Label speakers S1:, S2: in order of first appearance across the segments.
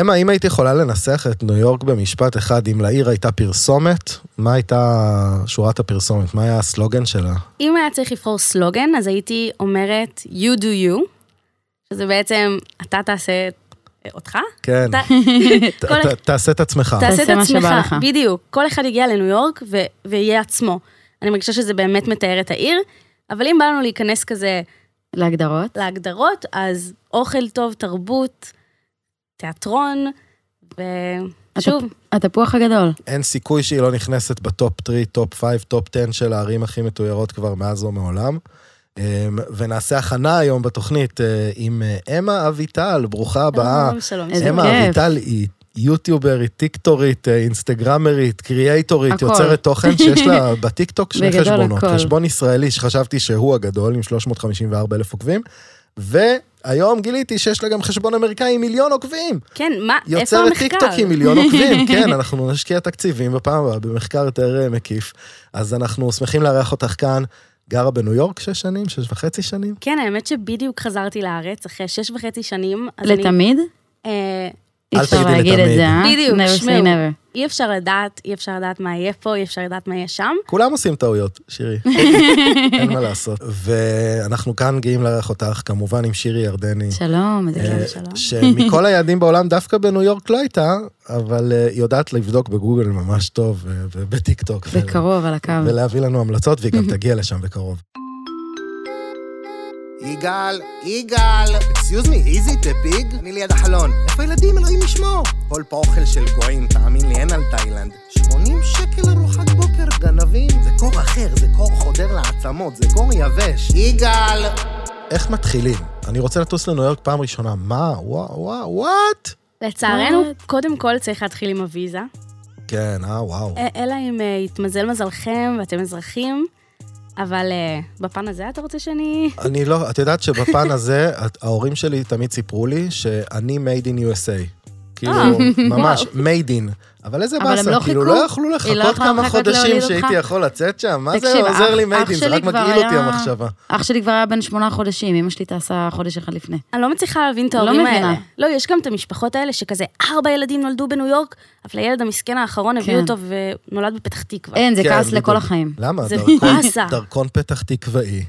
S1: אמה, אם היית יכולה לנסח את ניו יורק במשפט אחד, אם לעיר הייתה פרסומת, מה הייתה שורת הפרסומת? מה היה הסלוגן שלה?
S2: אם היה צריך לבחור סלוגן, אז הייתי אומרת you do you, שזה בעצם אתה תעשה את- אותך.
S1: כן,
S2: אתה-
S1: ת-
S2: כל-
S1: ת- תעשה את עצמך.
S2: תעשה את
S3: תעשה מה שבא
S2: עצמך,
S3: לך.
S2: בדיוק. כל אחד יגיע לניו יורק ו- ויהיה עצמו. אני מרגישה שזה באמת מתאר את העיר, אבל אם בא לנו להיכנס כזה
S3: להגדרות.
S2: להגדרות, אז אוכל טוב, תרבות, תיאטרון, ושוב,
S3: התפוח הגדול.
S1: אין סיכוי שהיא לא נכנסת בטופ 3, טופ 5, טופ 10 של הערים הכי מתוירות כבר מאז ומעולם. אמ, ונעשה הכנה היום בתוכנית אה, עם אה, אמה אביטל, ברוכה הבאה.
S2: שלום, שלום.
S3: איזה
S2: שלום.
S3: כיף.
S1: אמה אביטל היא יוטיוברית, טיקטורית, אה, אינסטגרמרית, קריאייטורית,
S3: הכל.
S1: יוצרת תוכן שיש לה בטיקטוק שני
S3: בגדול
S1: חשבונות.
S3: הכל.
S1: חשבון ישראלי שחשבתי שהוא הגדול, עם 354 אלף עוקבים, והיום גיליתי שיש לה גם חשבון אמריקאי עם מיליון עוקבים.
S2: כן, מה, איפה
S1: יוצרת
S2: המחקר?
S1: טיקטוק עם מיליון עוקבים, כן, אנחנו נשקיע תקציבים בפעם הבאה במחקר יותר אה, מקיף. אז אנחנו שמחים לארח אותך כאן. גרה בניו יורק שש שנים, שש וחצי שנים.
S2: כן, האמת שבדיוק חזרתי לארץ אחרי שש וחצי שנים, אז אני...
S3: לתמיד?
S2: אה,
S3: אי
S1: אל
S3: אפשר
S1: תגידי
S3: להגיד את
S1: לתמיד.
S3: זה, אה?
S2: בדיוק,
S3: never
S2: שמעו.
S3: say never.
S2: אי אפשר לדעת, אי אפשר לדעת מה יהיה פה, אי אפשר לדעת מה יהיה שם.
S1: כולם עושים טעויות, שירי. אין מה לעשות. ואנחנו כאן גאים לארח אותך, כמובן עם שירי ירדני.
S3: שלום, איזה
S1: אה,
S3: כיף.
S2: שלום.
S1: שמכל היעדים בעולם דווקא בניו יורק לא הייתה, אבל אה, היא יודעת לבדוק בגוגל ממש טוב אה, ובטיקטוק. ו-
S3: בקרוב על הקו.
S1: ולהביא לנו המלצות, והיא גם תגיע לשם בקרוב.
S4: יגאל, יגאל, אקסיוז מי, איזי דה ביג? אני ליד החלון. איפה הילדים, אלוהים ישמור? כל פה אוכל של גויים, תאמין לי, אין על תאילנד. 80 שקל ארוחת בוקר, גנבים. זה קור אחר, זה קור חודר לעצמות, זה קור יבש. יגאל!
S1: איך מתחילים? אני רוצה לטוס לניו יורק פעם ראשונה. מה? וואו, וואו, וואט?
S2: לצערנו,
S3: What?
S2: קודם כל צריך להתחיל עם הוויזה,
S1: כן, אה, וואו.
S2: אה, אלא אם אה, יתמזל מזלכם ואתם אזרחים, אבל אה, בפן הזה אתה רוצה שאני...
S1: אני לא, את יודעת שבפן הזה, את- ההורים שלי תמיד סיפרו לי שאני made in USA. כאילו, ממש, made in. אבל איזה
S3: אה, אבל הם
S1: באסה,
S3: לא
S1: כאילו,
S3: חיכו.
S1: לא יכלו
S3: היא לא
S1: לחכות
S3: יכלה
S1: כמה
S3: לחכות
S1: חודשים
S3: להוליד
S1: שהייתי
S3: אותך.
S1: יכול לצאת שם. מה
S3: תקשיב,
S1: זה עוזר
S3: אח-
S1: לי
S3: אח
S1: made in? זה
S3: שלי
S1: רק
S3: כבר
S1: מגעיל אותי
S3: היה-
S1: המחשבה.
S3: אח שלי כבר היה בן שמונה חודשים, אמא שלי טסה חודש אחד לפני.
S2: אני לא מצליחה להבין את
S3: לא
S2: ההורים
S3: מבינה.
S2: האלה. לא, יש גם את המשפחות האלה שכזה, ארבע ילדים נולדו בניו יורק, אבל הילד המסכן האחרון הביאו
S3: כן. אה.
S2: אותו ונולד בפתח תקווה.
S3: אין, זה
S1: כן,
S3: כעס
S1: בדיוק.
S3: לכל החיים.
S1: למה?
S2: זה
S1: דרכון-
S2: באסה.
S1: דרכון פתח תקוואי,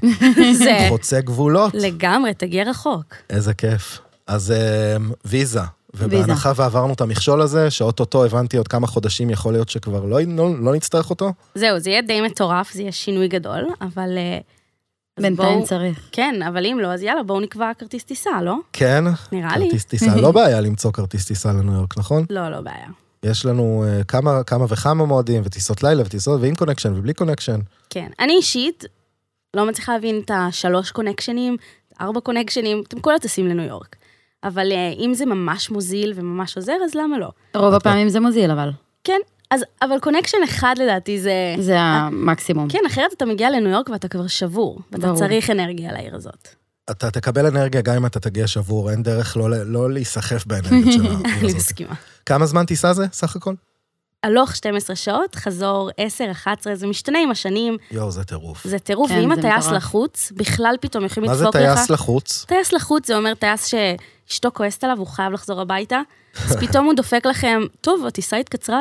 S2: זה
S3: כן.
S1: חוצה גבולות.
S2: לגמרי, תגיע רחוק.
S1: איזה כיף. אז אמ, ויזה. ובהנחה
S3: ויזה.
S1: ועברנו את המכשול הזה, שאו-טו-טו הבנתי עוד כמה חודשים יכול להיות שכבר לא, לא, לא נצטרך אותו.
S2: זהו, זה יהיה די מטורף, זה יהיה שינוי גדול, אבל... אה, אז
S3: בינתיים
S2: בואו-
S3: צריך.
S2: כן, אבל אם לא, אז יאללה, בואו נקבע כרטיס טיסה, לא?
S1: כן.
S2: נראה לי.
S1: כרטיס טיסה. לא בעיה למצוא כרטיס טיסה לניו יורק, נכון?
S2: לא, לא בעיה.
S1: יש לנו אה, כמה, כמה וכמה מועדים, וטיסות לילה, וטיסות ועם קונקשן ובלי קונקשן.
S2: כן. אני אישית לא מצליחה להבין את השלוש קונקשנים, ארבע קונקשנים, אתם כל הטסים לניו יורק. אבל אה, אם זה ממש מוזיל וממש עוזר, אז למה לא?
S1: אוקיי.
S3: רוב הפעמים זה מוזיל, אבל.
S2: כן, אז, אבל קונקשן אחד לדעתי זה...
S3: זה המקסימום.
S2: כן, אחרת אתה מגיע לניו יורק ואתה כבר שבור, ואתה
S3: ברור.
S2: צריך אנרגיה לעיר הזאת.
S1: אתה תקבל אנרגיה גם אם אתה תגיע שבור, אין דרך לא, ל- לא להיסחף באנרגיה של העיר
S2: אני
S1: הזאת.
S2: מסכימה.
S1: כמה זמן טיסה זה, סך הכל?
S2: הלוך 12 שעות, חזור 10, 11, זה משתנה עם השנים,
S1: יואו, זה טירוף.
S2: זה טירוף,
S3: כן,
S2: ואם
S3: זה
S2: הטייס
S3: מטורף.
S2: לחוץ, בכלל פתאום יכולים
S1: מה זה
S2: לדפוק לך.
S1: טייס לחוץ?
S2: טייס לחוץ זה אומר טייס שאשתו כועסת עליו, הוא חייב לחזור הביתה, אז פתאום הוא דופק לכם, טוב, הטיסה התקצרה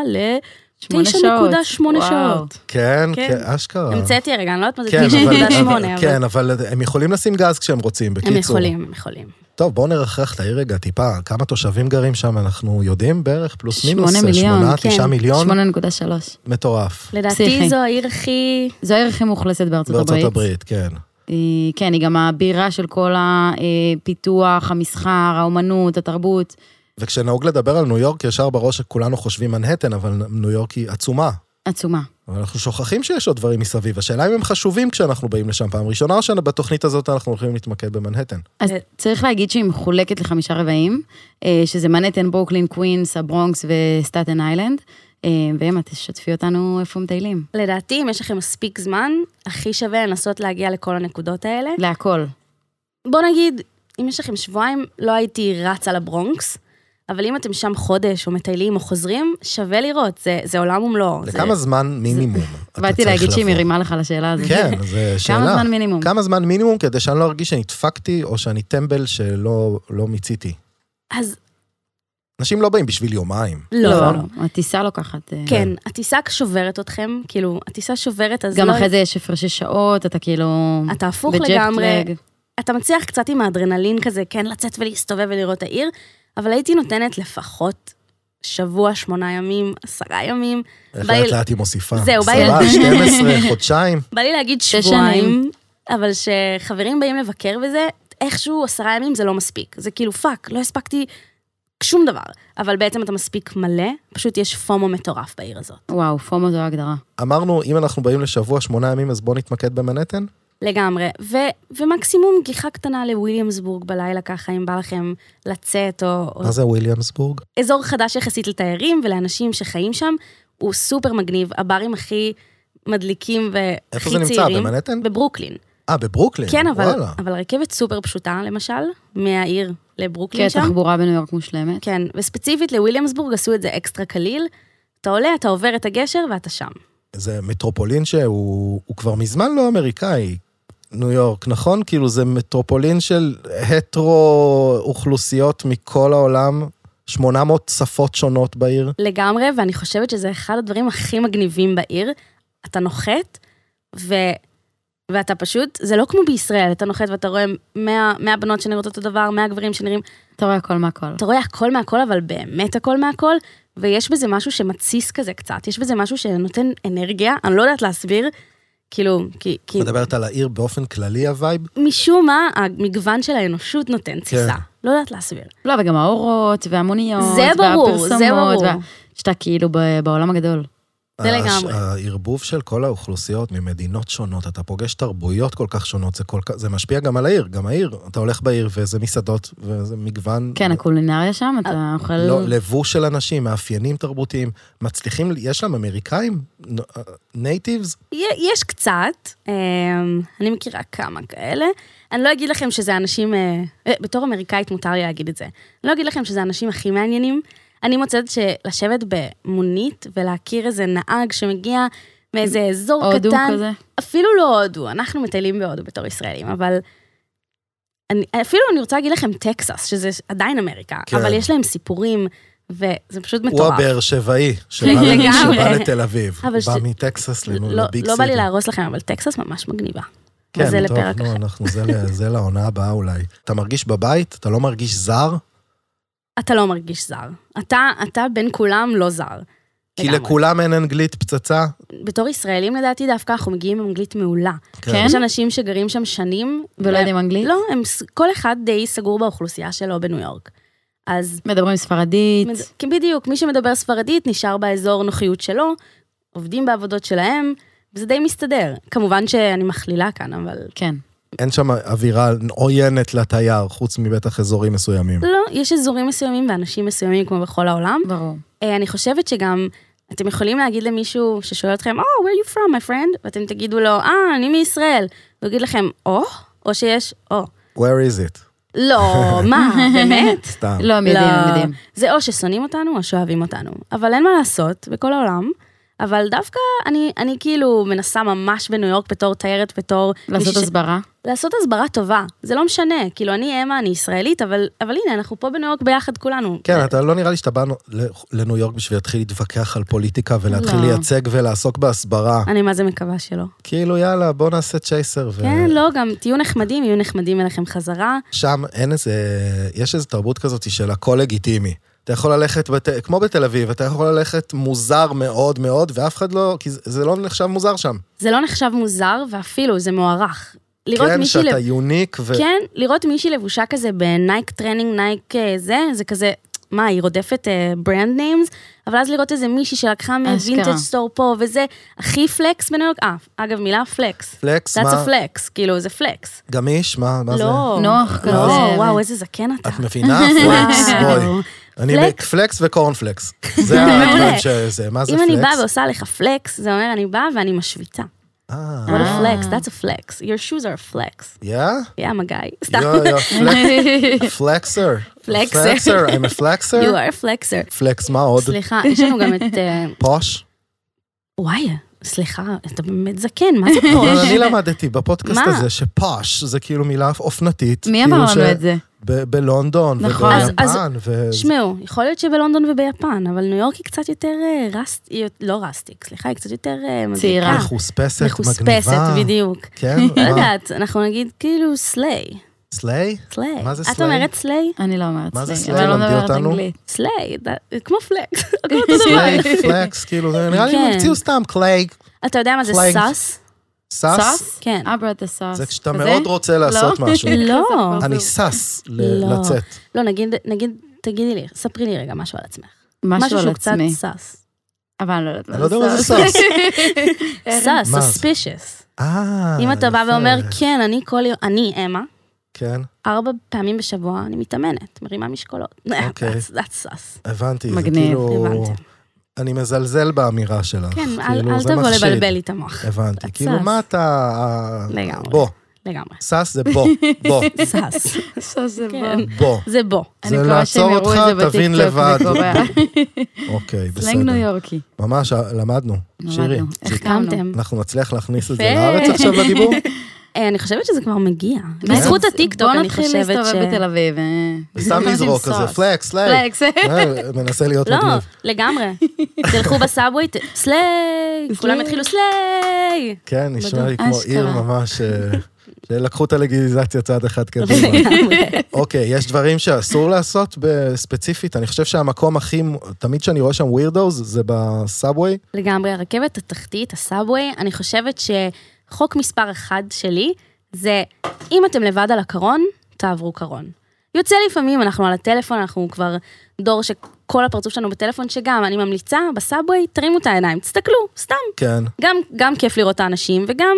S3: שמונה
S2: ל-9.8
S3: וואו.
S2: שעות.
S1: כן,
S2: כן.
S1: כן, אשכרה.
S2: המצאתי רגע, אני לא יודעת מה זה
S1: כן, אבל,
S2: 9.8, אבל
S1: כן, אבל הם יכולים לשים גז כשהם רוצים, בקיצור.
S2: הם יכולים, הם יכולים.
S1: טוב, בואו נרחח את העיר רגע טיפה. כמה תושבים גרים שם, אנחנו יודעים בערך, פלוס מינוס. אה,
S3: שמונה מיליון,
S1: שמונה,
S2: כן.
S1: תשעה מיליון,
S3: 8.3.
S1: מטורף.
S2: לדעתי
S3: פסיכי.
S2: זו העיר הכי...
S3: זו העיר הכי מאוכלסת בארצות הברית.
S1: בארצות הברית, כן.
S3: היא- כן, היא גם הבירה של כל הפיתוח, המסחר, האומנות, התרבות.
S1: וכשנהוג לדבר על ניו יורק, ישר בראש שכולנו חושבים מנהטן, אבל ניו יורק היא עצומה.
S3: עצומה.
S1: אבל אנחנו שוכחים שיש עוד דברים מסביב. השאלה אם הם חשובים כשאנחנו באים לשם פעם ראשונה, או שבתוכנית הזאת אנחנו הולכים להתמקד במנהטן.
S3: אז
S2: אה,
S3: צריך להגיד שהיא מחולקת לחמישה רבעים, אה, שזה מנהטן, ברוקלין, קווינס, הברונקס וסטטן איילנד. אה, ואמא, תשתפי אותנו איפה מטיילים.
S2: לדעתי, אם יש לכם מספיק זמן, הכי שווה לנסות להגיע לכל הנקודות האלה.
S3: להכל.
S2: בוא נגיד, אם יש לכם שבועיים, לא הייתי רצה לברונקס, אבל אם אתם שם חודש, או מטיילים, או חוזרים, שווה לראות, זה, זה עולם ומלואו. זה-
S1: לכמה זמן מינימום אתה
S3: באתי
S1: צריך
S3: להגיד שהיא
S1: לבוא?
S3: מרימה לך לשאלה הזאת.
S1: כן, זו שאלה.
S3: כמה זמן מינימום?
S1: כמה זמן מינימום כדי שאני לא ארגיש שנדפקתי או שאני טמבל שלא לא מיציתי?
S2: אז
S1: אנשים לא באים בשביל יומיים.
S2: לא.
S3: לא, הטיסה לוקחת... אה,
S2: כן, הטיסה שוברת אתכם, כאילו, הטיסה שוברת, אז
S3: גם
S2: לא...
S3: אחרי זה יש הפרשי שעות, אתה כאילו...
S2: אתה הפוך
S3: בג'ט
S2: לגמרי.
S3: לג.
S2: אתה מצליח קצת עם האדרנלין כזה, כן, לצאת ולהסתובב ולראות את העיר, אבל הייתי נותנת לפחות שבוע, שמונה ימים, עשרה ימים.
S1: איך
S2: בא לי-
S1: לאט לאט היא מוסיפה.
S2: זהו, בא לי-
S1: עשרה, 12, חודשיים.
S2: בא לי להגיד
S3: שש
S2: שבועיים,
S3: שנים.
S2: אבל כשחברים באים לבקר וזה, איכשהו עשרה ימים זה לא מספיק. זה כאילו, פאק, לא הספקתי שום דבר. אבל בעצם אתה מספיק מלא, פשוט יש פומו מטורף בעיר הזאת.
S3: וואו, פומו זו ההגדרה.
S1: אמרנו, אם אנחנו באים לשבוע, שמונה ימים, אז בואו נתמקד במנהטן.
S2: לגמרי. ו- ומקסימום גיחה קטנה לוויליאמסבורג בלילה ככה, אם בא לכם לצאת, או, או
S1: מה זה וויליאמסבורג?
S2: אזור חדש יחסית לתיירים ולאנשים שחיים שם, הוא סופר מגניב, הברים הכי מדליקים
S1: איפה
S2: והכי
S1: זה
S2: צעירים.
S1: נמצא? במנהטן?
S2: בברוקלין.
S1: אה, בברוקלין.
S2: כן, אבל,
S1: וואלה.
S2: אבל הרכבת סופר פשוטה, למשל, מהעיר
S3: כן,
S2: לברוקלין לא שם.
S3: תחבורה בניו יורק מושלמת.
S2: כן, וספציפית לוויליאמסבורג עשו את זה אקסטרה קליל. אתה עולה, אתה עובר את הגשר ואתה שם.
S1: זה מטרופולין שהוא הוא כבר מזמן לא אמריקאי, ניו יורק, נכון? כאילו זה מטרופולין של הטרו אוכלוסיות מכל העולם, 800 שפות שונות בעיר.
S2: לגמרי, ואני חושבת שזה אחד הדברים הכי מגניבים בעיר. אתה נוחת, ו... ואתה פשוט, זה לא כמו בישראל, אתה נוחת ואתה רואה 100, 100 בנות שנראות אותו דבר, 100 גברים שנראים,
S3: אתה רואה הכל מהכל.
S2: אתה רואה הכל מהכל, אבל באמת הכל מהכל, ויש בזה משהו שמתסיס כזה קצת, יש בזה משהו שנותן אנרגיה, אני לא יודעת להסביר, כאילו, כי, כי
S1: את מדברת על העיר באופן כללי, הווייב?
S2: משום מה, המגוון של האנושות נותן תסיסה. לא יודעת להסביר.
S3: לא, וגם האורות, והמוניות,
S2: זה ברור, זה
S3: לא, והפרסומות,
S2: ברור.
S3: וה- שאתה כאילו ב- בעולם הגדול.
S2: זה
S1: הש-
S2: לגמרי.
S1: הערבוב של כל האוכלוסיות ממדינות שונות, אתה פוגש תרבויות כל כך שונות, זה, כל כך, זה משפיע גם על העיר, גם העיר. אתה הולך בעיר וזה מסעדות, וזה מגוון...
S3: כן, הקולינריה שם, אתה אוכל...
S1: לא, לבוש של אנשים, מאפיינים תרבותיים, מצליחים, יש להם אמריקאים? אה, נייטיבס?
S2: י- יש קצת, אמ, אני מכירה כמה כאלה. אני לא אגיד לכם שזה אנשים, אה, אה, בתור אמריקאית מותר לי להגיד את זה. אני לא אגיד לכם שזה האנשים הכי מעניינים. אני מוצאת שלשבת במונית ולהכיר איזה נהג שמגיע מאיזה אזור קטן.
S3: הודו כזה.
S2: אפילו לא הודו, אנחנו מטיילים בהודו בתור ישראלים, אבל... אני, אפילו אני רוצה להגיד לכם טקסס, שזה עדיין אמריקה,
S1: כן.
S2: כן. אבל יש להם סיפורים, וזה פשוט
S1: הוא
S2: מטורף.
S1: הבאר שבעי, שבא
S2: לגמרי.
S1: שבא לתל אביב.
S2: אבל
S1: בא
S2: ש-
S1: מטקסס לנו
S2: לא,
S1: לביג
S2: לא בא
S1: סיטי.
S2: לי להרוס לכם, אבל טקסס ממש מגניבה.
S1: כן,
S2: אז זה
S1: טוב,
S2: לפרק
S1: נו,
S2: אחר.
S1: אנחנו, זה ל- זה לעונה הבאה אולי. אתה מרגיש בבית? אתה לא מרגיש זר?
S2: אתה לא מרגיש זר. אתה, אתה בין כולם לא זר.
S1: כי
S2: לגמרי.
S1: לכולם אין אנגלית פצצה?
S2: בתור ישראלים לדעתי דווקא אנחנו מגיעים עם אנגלית מעולה.
S3: כן?
S2: יש אנשים שגרים שם שנים.
S3: ולא יודעים אנגלית?
S2: לא, הם, ס- כל אחד די סגור באוכלוסייה שלו בניו יורק. אז
S3: מדברים ספרדית.
S2: מד- כי בדיוק, מי שמדבר ספרדית נשאר באזור נוחיות שלו, עובדים בעבודות שלהם, וזה די מסתדר. כמובן שאני מכלילה כאן, אבל
S3: כן.
S1: אין שם אווירה עוינת לתייר, חוץ מבטח אזורים מסוימים.
S2: לא, יש אזורים מסוימים ואנשים מסוימים כמו בכל העולם.
S3: ברור.
S2: אה, אני חושבת שגם, אתם יכולים להגיד למישהו ששואל אתכם, Oh, where you from, my friend? ואתם תגידו לו, אה, אני מישראל. הוא יגיד לכם, או, או שיש, או.
S1: Where is it?
S2: לא, מה, באמת?
S1: סתם.
S3: לא, הם יודעים, הם יודעים.
S2: זה או ששונאים אותנו או שאוהבים אותנו. אבל אין מה לעשות, בכל העולם. אבל דווקא אני, אני כאילו מנסה ממש בניו יורק בתור תיירת, בתור...
S3: לעשות
S2: מישהי ש-
S3: הסברה.
S2: לעשות הסברה טובה. זה לא משנה. כאילו, אני אמה, אני ישראלית, אבל, אבל הנה, אנחנו פה בניו יורק ביחד כולנו.
S1: כן, אתה לא נראה לי שאתה בא נו- ל- לניו יורק בשביל להתחיל להתווכח על פוליטיקה ולהתחיל
S3: לא.
S1: לייצג ולעסוק בהסברה.
S2: אני מה זה מקווה שלא.
S1: כאילו, יאללה, בוא נעשה צ'ייסר. ו-
S2: כן, לא, גם תהיו נחמדים, יהיו נחמדים אליכם חזרה.
S1: שם אין איזה, יש איזו תרבות כזאת של הכל לגיטימי. אתה יכול ללכת, בת... כמו בתל אביב, אתה יכול ללכת מוזר מאוד מאוד, ואף אחד לא, כי זה- זה לא נחשב מוזר שם.
S2: זה לא נחשב מוזר, ואפילו, זה מוערך. לראות
S1: כן,
S2: מישהי
S1: שאתה
S2: לב-
S1: יוניק, ו...
S2: כן, לראות מישהי לבושה כזה בנייק טרנינג, נייק אה, זה, זה כזה, מה, היא רודפת ברנד ניימס? אבל אז לראות איזה מישהי שלקחה
S3: אשכרה.
S2: מווינטג' סטור פה, וזה הכי פלקס בניו יורק, אה, אגב, מילה פלקס.
S1: פלקס,
S2: That's
S1: מה?
S2: a flex, כאילו, זה פלקס.
S1: גמיש, מה, מה זה?
S2: לא.
S3: נוח כזה.
S2: לא, וואו, איזה זקן אתה.
S1: את מבינה?
S2: אה.
S1: פלקס, בואי. אני
S2: פלקס.
S1: פלקס וקורנפלקס. זה הדברים שזה, מה זה
S2: אם אני באה
S1: פלקס?
S2: ועושה לך פלקס, זה אומר, אני באה ואני משוויצה.
S1: אה,
S2: What a flex, that's a flex. Your shoes are a flex.
S1: יא?
S2: Yeah, my guy. סתם.
S1: יו, יו, פלק- פלקסר.
S2: פלקסר.
S1: פלקסר, I'm a
S2: You
S1: פלקסר.
S2: are a flexer.
S1: פלקס, מה עוד?
S2: סליחה, יש לנו גם את... אה,
S1: פוש?
S2: וואי, סליחה, אתה באמת זקן, מה זה
S1: אבל
S2: פוש?
S1: אני למדתי בפודקאסט
S2: מה?
S1: הזה שפוש זה כאילו מילה אופנתית.
S3: מי
S1: כאילו
S3: אמר לנו
S1: ש-
S3: את זה?
S1: ב- בלונדון
S3: נכון. אז-
S2: אז-
S1: וביפן. ו-
S2: שמעו, יכול להיות שבלונדון וביפן, אבל ניו יורק היא קצת יותר אה, רסט, היא- לא רסטיק, סליחה, היא קצת יותר אה, מגניבה.
S3: צעירה.
S1: מחוספסת,
S2: מחוספסת,
S1: מגניבה.
S2: בדיוק.
S1: כן?
S2: לא
S1: מה?
S2: יודעת, אנחנו נגיד כאילו סליי,
S1: סליי?
S2: סליי.
S1: מה זה
S2: את
S1: סליי?
S2: אומרת סליי?
S3: אני לא אומרת
S1: מה זה
S3: סלנג,
S1: סלנג?
S3: אבל אני לא
S1: למדי
S3: מדברת
S1: אותנו?
S3: אנגלית.
S2: סליי, ד- כמו פלקס, כמו אותו דבר.
S1: סליי, פלקס, כאילו, זה נראה לי
S2: כן.
S1: הם המציאו סתם קלייג,
S2: אתה יודע מה זה
S1: פלנק.
S2: סאס?
S1: סאס.
S3: סאס?
S2: כן.
S3: אברה את הסאס.
S1: זה כשאתה
S3: כזה?
S1: מאוד רוצה לעשות משהו.
S2: לא.
S1: אני סס ל-
S2: לא.
S1: לצאת.
S2: לא, נגיד, נגיד, תגידי לי, ספרי לי רגע משהו על עצמך.
S3: משהו על
S2: שהוא קצת
S3: עצמי.
S2: סאס.
S3: אבל אני לא יודעת
S1: אני לא יודע מה זה סאס.
S2: סאס,
S1: מה זה?
S2: ספישס.
S1: אה,
S2: אם אתה בא
S1: יפה.
S2: ואומר, כן, אני כל יום, אני, אמה,
S1: כן,
S2: ארבע פעמים בשבוע אני מתאמנת, מרימה משקולות.
S1: אוקיי.
S2: That's- That's us.
S1: הבנתי. זה
S3: מגניב.
S1: כאילו...
S2: הבנתי.
S1: אני מזלזל באמירה שלך.
S2: כן, אל-
S1: כאילו,
S2: אל
S1: זה
S2: תבוא
S1: מחשיד.
S2: לבלבל לי את המוח.
S1: הבנתי.
S2: את
S1: כאילו,
S2: סס.
S1: מה אתה... אה,
S2: לגמרי.
S1: בוא.
S2: לגמרי.
S1: סס זה בוא. בוא.
S2: סאס.
S3: סאס זה
S2: כן.
S3: בוא.
S1: בוא.
S2: זה בוא.
S3: אני
S1: זה
S3: מקווה שהם
S1: לעצור
S3: יראו את
S1: אותך,
S3: זה
S1: תבין
S3: בטיקטוק,
S1: לבד.
S3: זה קורה.
S1: אוקיי,
S3: סלנג ניו
S1: בסדר.
S3: יורקי.
S1: ממש אה, למדנו. שירי,
S3: למדנו. איך קמנו?
S2: קמתם.
S1: אנחנו נצליח להכניס את זה
S2: יפה.
S1: לארץ עכשיו לדיבור?
S2: אה, אני חושבת שזה כבר מגיע. בזכות הטיקטוק, אני חושבת ש...
S3: אה, בוא נתחיל להסתובב בתל אביב. אה.
S1: סתם
S3: אנשים
S1: לזרוק כזה,
S3: סאס.
S1: פלקס, פלקס.
S3: פלקס.
S1: מנסה להיות
S2: לא,
S1: מגניב.
S2: לגמרי. תלכו בסאבווי, ת- סליי! כולם יתחילו סליי!
S1: כן, נשמע לי
S3: בדיוק.
S1: כמו עיר
S3: אשכרה.
S1: ממש... אה, שלקחו את הלגיליזציה צעד אחד קדימה.
S2: לגמרי.
S1: אוקיי, יש דברים שאסור לעשות ב- ספציפית. אני חושב שהמקום הכי, תמיד כשאני רואה שם ווירדוס, זה בסאבווי.
S2: לגמרי, הרכבת התחתית, הסאבווי, אני חושבת שחוק מספר אחד שלי זה, אם אתם לבד על הקרון, תעברו קרון. יוצא לפעמים, אנחנו על הטלפון, אנחנו כבר דור שכל הפרצוף שלנו בטלפון, שגם, אני ממליצה, בסאבווי, תרימו את העיניים, תסתכלו, סתם.
S1: כן,
S2: גם, גם כיף לראות את האנשים, וגם,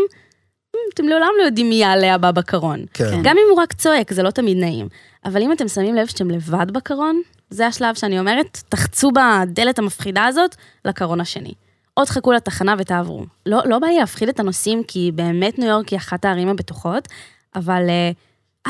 S2: "מ, אתם לעולם לא יודעים מי יעלה הבא בקרון.
S1: כן.
S2: גם אם הוא רק צועק, זה לא תמיד נעים. אבל אם אתם שמים לב שאתם לבד בקרון, זה השלב שאני אומרת, תחצו בדלת המפחידה הזאת לקרון השני. או תחכו לתחנה ותעברו. לא, לא בא לי להפחיד את הנוסעים, כי באמת ניו יורק היא אחת הערים הבטוחות, אבל אה,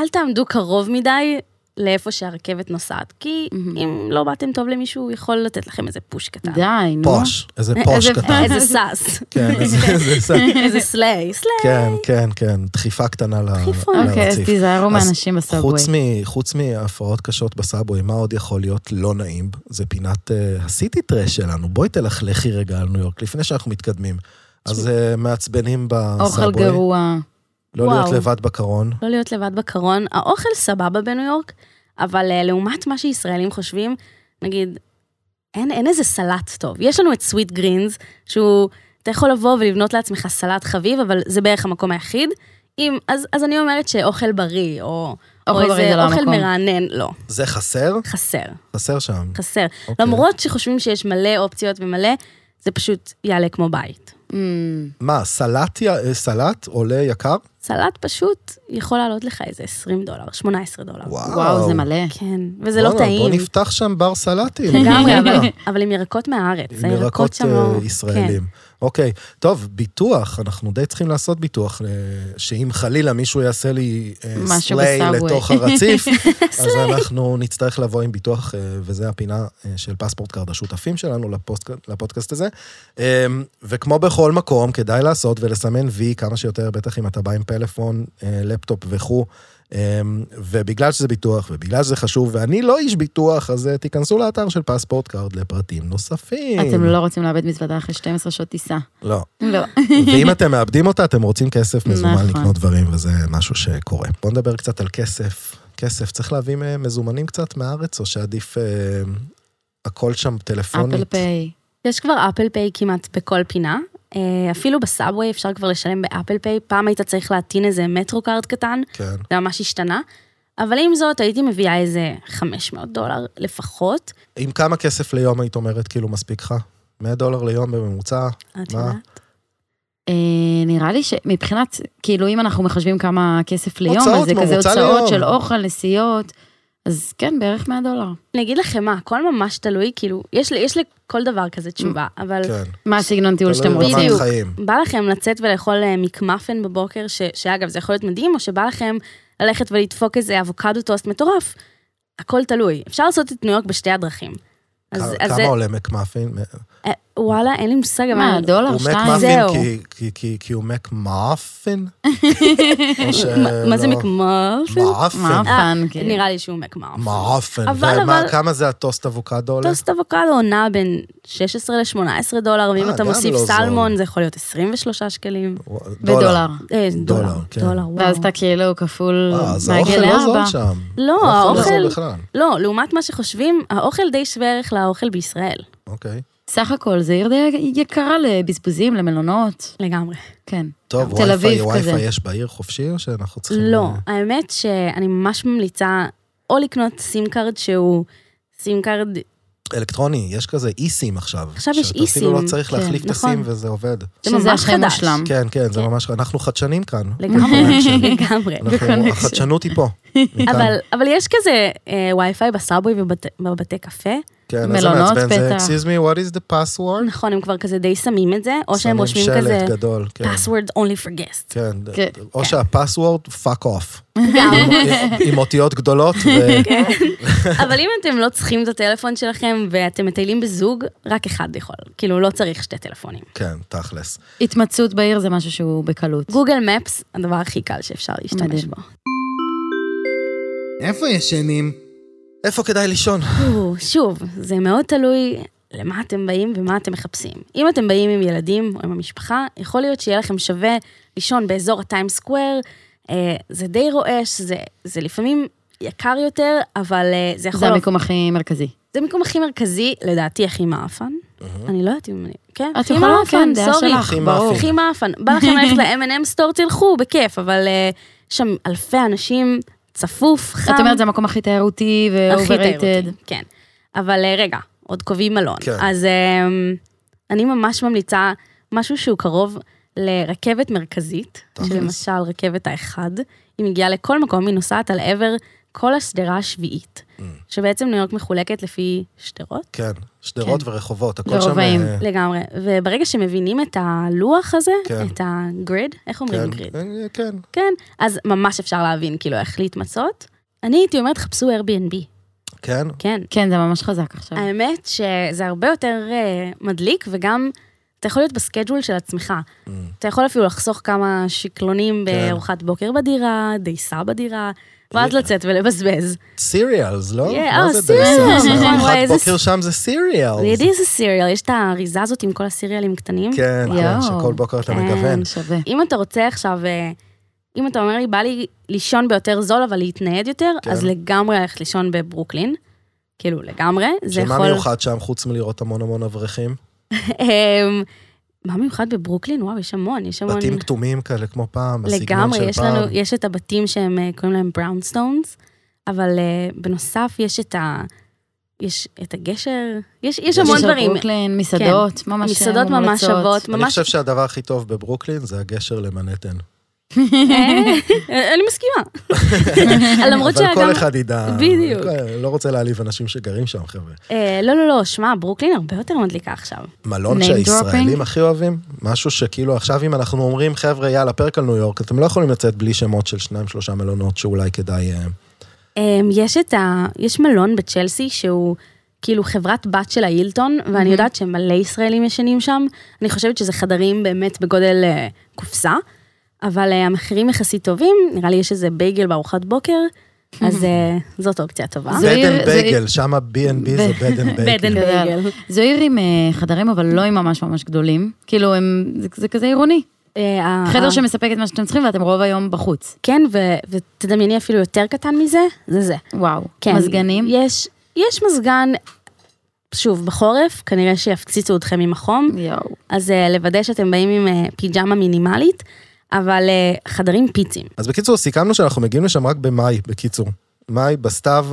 S2: אל תעמדו קרוב מדי לאיפה שהרכבת נוסעת, כי אם לא באתם טוב למישהו, הוא יכול לתת לכם איזה פוש קטן.
S3: די, נו.
S1: פוש, איזה פוש
S3: איזה-
S1: קטן.
S2: איזה סאס,
S1: כן, איזה- איזה ס-
S2: איזה סליי, סליי.
S1: כן, כן, כן, דחיפה קטנה ל-
S2: דחיפה.
S3: אוקיי, אז
S1: לרציף.
S3: תיזהרו
S1: לא, אז
S3: מאנשים בסאבווי.
S1: חוץ מ- חוץ מהפרעות קשות בסאבווי, מה עוד יכול להיות לא נעים? זה פינת אה, הסיטי טרש שלנו. בואי תלכלכי רגע על ניו יורק, לפני שאנחנו מתקדמים. אז אה, מעצבנים
S3: אוכל
S1: בסאבווי,
S3: גרוע.
S1: לא להיות
S2: וואו.
S1: לבד בקרון.
S2: לא להיות לבד בקרון. האוכל סבבה בניו יורק, אבל אה, לעומת מה שישראלים חושבים, נגיד, אין, אין איזה סלט טוב. יש לנו את סוויט גרינס, שהוא, אתה יכול לבוא ולבנות לעצמך סלט חביב, אבל זה בערך המקום היחיד. אם, אז, אז אני אומרת שאוכל בריא, או, או
S3: אוכל בריא זה לא
S2: איזה אוכל
S3: המקום.
S2: מרענן, לא,
S1: זה חסר?
S2: חסר,
S1: חסר שם.
S2: חסר.
S1: אוקיי.
S2: כן. למרות שחושבים שיש מלא אופציות ומלא, זה פשוט יעלה כמו בית.
S3: אמ,
S1: מה, סלט, י- אה, סלט עולה יקר?
S2: סלט פשוט יכול לעלות לך איזה 20 דולר, 18 דולר.
S3: וואו, זה מלא.
S2: כן, וזה לא
S1: בואנה,
S2: טעים.
S1: בוא נפתח שם בר סלטים.
S2: לגמרי,
S1: אתה יודע,
S2: אבל- אבל עם ירקות מהארץ.
S1: עם ירקות
S2: שם לא-
S3: כן.
S1: אה, ישראלים. אוקיי, טוב, ביטוח, אנחנו די צריכים לעשות ביטוח, אה, שאם חלילה מישהו יעשה לי אה,
S3: משהו
S1: סליי
S3: בסאבווי.
S1: לתוך הרציף, אז אנחנו נצטרך לבוא עם ביטוח, אה, וזה הפינה אה, של פספורט קארד, השותפים שלנו לפוסט- לפודקאסט הזה. אה, וכמו בכל מקום, כדאי לעשות ולסמן וי כמה שיותר, בטח אם אתה בא עם פלאפון, אה, לפטופ וכו'. אמ, ובגלל שזה ביטוח, ובגלל שזה חשוב, ואני לא איש ביטוח, אז אה, תיכנסו לאתר של פספורט קארד לפרטים נוספים.
S3: אתם לא רוצים לאבד מזוודה אחרי 12 שעות טיסה.
S1: לא.
S3: לא.
S1: ואם אתם מאבדים אותה, אתם רוצים כסף מזומן
S3: נכון.
S1: לקנות דברים, וזה משהו שקורה. בואו נדבר קצת על כסף. כסף, צריך להביא אה, מזומנים קצת מהארץ, או שעדיף אה, הכל שם טלפונית?
S3: אפל פיי.
S2: יש כבר אפל פיי כמעט בכל פינה. אה, אפילו בסאבווי אפשר כבר לשלם באפל פיי. פעם היית צריך להטעין איזה מטרו קארד קטן,
S1: כן.
S2: זה ממש השתנה. אבל עם זאת, הייתי מביאה איזה 500 דולר לפחות.
S1: עם כמה כסף ליום היית אומרת, כאילו, מספיק לך? 100 דולר ליום בממוצע?
S2: את
S1: מה?
S2: יודעת?
S3: אה, נראה לי שמבחינת, כאילו אם אנחנו מחשבים כמה כסף ליום,
S1: הוצאות,
S3: אז זה כזה
S1: ממוצע ליום.
S3: הוצאות של אוכל, נסיעות, אז כן, בערך 100 דולר.
S2: אני אגיד לכם מה, הכל ממש תלוי, כאילו, יש, לי- יש לכל דבר כזה תשובה, אבל
S1: כן.
S3: מה הסגנון טיול שאתם
S1: תלוי ברמת
S3: רוצים?
S2: בדיוק.
S1: חיים.
S2: בא לכם לצאת ולאכול אה, מקמפן בבוקר, ש, שאגב, זה יכול להיות מדהים, או שבא לכם ללכת ולדפוק איזה אבוקדו טוסט מטורף, הכל תלוי. אפשר לעשות את ניו יורק בשתי הדרכים. אז,
S1: כ-
S2: אז
S1: כמה
S2: זה
S1: עולה מקמאפין?
S2: אה, וואלה, אין לי מושג, אבל...
S3: מה, דולר,
S1: הוא מק
S3: שתיים?
S2: מאפי.
S1: מאפין
S2: לא, זהו.
S1: כי- כי- כי- כי הוא מק מאפין? או ש-
S2: מה- מה זה
S1: לא.
S2: מקמרפן?
S1: מאפן?
S3: מאפן. פאן, כאילו.
S2: נראה לי שהוא מקמרפן.
S1: מאפן.
S2: אבל-
S1: ומה-
S2: אבל-
S1: כמה זה הטוסט אבוקדו עולה?
S2: טוסט אבוקדו נע בין 16 ל-18 דולר, ואם
S1: אה,
S2: אתה
S1: גם
S2: מוסיף
S1: לא זול.
S2: סלמון, זה יכול להיות 23 שקלים.
S3: בדולר.
S2: אה,
S1: דולר,
S2: דולר,
S1: כן.
S2: דולר, וואו.
S3: ואז אתה כאילו כפול
S1: אה, אז האוכל
S3: מעגל
S1: לא זול
S3: לארבע.
S1: שם.
S2: לא,
S1: האוכל לא זול
S2: האוכל...
S1: בכלל.
S2: לא, לעומת מה שחושבים, האוכל די שווה ערך לאוכל בישראל.
S1: אוקיי.
S3: סך הכל זה עיר די יקרה לבזבוזים, למלונות.
S2: לגמרי.
S3: כן.
S1: טוב,
S3: תל אביב
S1: ווי-פיי,
S3: כזה.
S1: ווי-פיי יש בעיר חופשי, או שאנחנו צריכים...
S2: לא,
S1: אה,
S2: האמת שאני ממש ממליצה או לקנות סים קארד שהוא סים קארד,
S1: אלקטרוני, יש כזה אי-סים עכשיו.
S2: עכשיו יש
S1: שאתה אפילו
S2: אי-סים,
S1: לא צריך
S3: כן,
S1: להחליף את
S2: נכון.
S1: הסים וזה עובד.
S2: זה
S3: שזה
S2: ממש
S3: הכי
S2: חדש.
S3: מושלם.
S1: כן, כן, זה
S2: כן.
S1: ממש... אנחנו חדשנים כאן.
S2: לגמרי, לגמרי.
S1: אנחנו-
S3: בקונקשן.
S1: החדשנות היא פה. מכאן.
S2: אבל, אבל יש כזה אה, וי-פיי בסאבווי ובבת- ובבתי קפה.
S1: כן, איזה
S3: מלונות,
S1: מעצבן זה.
S3: פתח.
S1: Excuse me, what is the password?
S2: נכון, הם כבר כזה די שמים את זה, או שהם
S1: שמים
S2: רושמים כזה,
S1: שלט גדול, כן.
S2: password only for guests.
S1: כן,
S3: כן.
S1: או שהפסוורד, פאק אוף.
S2: גם.
S1: עם אותיות גדולות, ו-
S2: אבל אם אתם לא צריכים את הטלפון שלכם ואתם מטיילים בזוג, רק אחד יכול. כאילו, לא צריך שתי טלפונים.
S1: כן, תכלס.
S3: התמצאות בעיר זה משהו שהוא בקלות.
S2: גוגל מפס, הדבר הכי קל שאפשר להשתמש
S3: מדהים.
S2: בו.
S4: איפה ישנים?
S1: איפה כדאי לישון?
S2: או, שוב, זה מאוד תלוי למה אתם באים ומה אתם מחפשים. אם אתם באים עם ילדים או עם המשפחה, יכול להיות שיהיה לכם שווה לישון באזור הטיים סקוואר. אה, זה די רועש, זה, זה לפעמים יקר יותר, אבל אה, זה יכול...
S3: זה
S2: לעבוד.
S3: המיקום הכי מרכזי.
S2: זה המיקום הכי מרכזי, לדעתי הכי מאפן. אני לא יודעת אם אני... כן,
S3: את
S2: הכי
S3: יכולה,
S2: מאפן,
S3: כן, דעה
S2: סורי.
S3: שלך,
S1: הכי
S3: ברור.
S1: מאפן.
S2: הכי מאפן. בא לכם ללכת ל-M&M סטור, תלכו, בכיף, אבל אה, שם אלפי אנשים, צפוף, חם.
S3: את אומרת, זה המקום הכי תיירותי
S2: הכי
S3: ואוברייטד.
S2: תיירותי, כן. אבל אה, רגע, עוד קובעים מלון.
S1: כן.
S2: אז אה, אני ממש ממליצה משהו שהוא קרוב לרכבת מרכזית,
S1: תכלס.
S2: שלמשל רכבת האחד, היא מגיעה לכל מקום, היא נוסעת על עבר כל השדרה השביעית,
S1: Mm.
S2: שבעצם ניו יורק מחולקת לפי שדרות.
S1: כן, שדרות ורחובות, הכל שם...
S3: ורובעים.
S1: אה,
S2: לגמרי, וברגע שמבינים את הלוח הזה,
S1: כן.
S2: את הגריד, איך אומרים
S1: כן,
S2: גריד?
S1: אה, כן.
S2: כן, אז ממש אפשר להבין כאילו איך להתמצות. אני הייתי אומרת, חפשו Airbnb,
S1: כן?
S2: כן.
S3: כן, זה ממש חזק עכשיו.
S1: נכון.
S2: האמת שזה הרבה יותר אה, מדליק, וגם אתה יכול להיות בסקייג'ול של עצמך.
S1: Mm.
S2: אתה יכול אפילו לחסוך כמה שקלונים
S1: כן.
S2: בארוחת בוקר בדירה, דייסה בדירה, ואז לצאת ולבזבז.
S1: סיריאלס, לא?
S2: Yeah,
S1: מה
S2: אה,
S1: זה
S2: cereals,
S1: דייסה?
S2: נכון,
S1: ארוחת
S2: וואי, איזה
S1: בוקר שם זה סיריאלס.
S2: לידי איזה סיריאל, יש את האריזה הזאת עם כל הסיריאלים קטנים.
S1: כן, כן,
S3: יואו.
S1: שכל בוקר אתה
S2: כן.
S1: מגוון.
S3: שווה.
S2: אם אתה רוצה עכשיו, אה, אם אתה אומר לי, בא לי לישון ביותר זול, אבל להתנייד יותר,
S1: כן.
S2: אז לגמרי ללכת לישון בברוקלין. כאילו, לגמרי. זה
S1: שמה
S2: יכול...
S1: מיוחד שם, חוץ מלראות המון המון אברכים?
S2: אמ, מה מיוחד בברוקלין? וואו, יש המון, יש המון...
S1: בתים כתומים כאלה כמו פעם, בסגנון
S2: לגמרי,
S1: של
S2: יש לנו,
S1: פעם.
S2: יש את הבתים שהם אה, קוראים להם בראונסטונס, אבל אה, בנוסף יש את ה... יש את הגשר, יש, יש המון
S3: של
S2: דברים. כן,
S3: ברוקלין, מסעדות, ממש אה,
S2: מסעדות ממש
S3: מומלצות.
S2: שוות,
S1: אני
S2: ממש...
S1: חושב שהדבר הכי טוב בברוקלין זה הגשר למנהטן.
S2: אה, אני מסכימה. למרות
S1: אבל
S2: שגם...
S1: כל אחד ידע...
S2: בדיוק.
S1: לא רוצה להעליב אנשים שגרים שם, חבר'ה.
S2: אה, לא, לא, לא, שמע, ברוקלין הרבה יותר מדליקה עכשיו.
S1: מלון
S3: Name
S1: שהישראלים
S3: dropping?
S1: הכי אוהבים, משהו שכאילו עכשיו אם אנחנו אומרים, חבר'ה, יאללה, פרק על ניו יורק, אתם לא יכולים לצאת בלי שמות של שניים, שלושה מלונות שאולי כדאי... אה,
S2: אמ, יש את ה... יש מלון בצ'לסי שהוא כאילו חברת בת של ההילטון, ואני
S3: Mhm.
S2: יודעת שמלא ישראלים ישנים שם. אני חושבת שזה חדרים באמת בגודל אה, קופסה, אבל אה, המחירים יחסית טובים, נראה לי יש איזה בייגל בארוחת בוקר, אז אה, זאת אופציה טובה.
S3: Mhm. זה
S1: בד
S3: עיר-
S1: אנד
S3: זה עיר-
S1: בייגל, שם B&B זה בד אנד
S2: בד
S1: בייגל.
S2: אנד
S3: גדל.
S2: בייגל.
S3: זו עיר עם אה, חדרים, אבל לא עם ממש ממש גדולים. כאילו, הם, זה, זה כזה עירוני.
S2: אה, ה-
S3: חדר
S2: ה-
S3: שמספק את מה שאתם צריכים, ואתם רוב היום בחוץ.
S2: כן, ו- ותדמייני אפילו יותר קטן מזה, זה זה.
S3: וואו.
S2: כן.
S3: מזגנים.
S2: יש, יש מזגן, שוב, בחורף, כנראה שיפציצו אתכם עם החום.
S3: יואו.
S2: אז אה, לוודא שאתם באים עם אה, פיג'מה מינימלית, אבל אה, חדרים פיצים.
S1: אז בקיצור, סיכמנו שאנחנו מגיעים לשם רק במאי, בקיצור. מאי, בסתיו,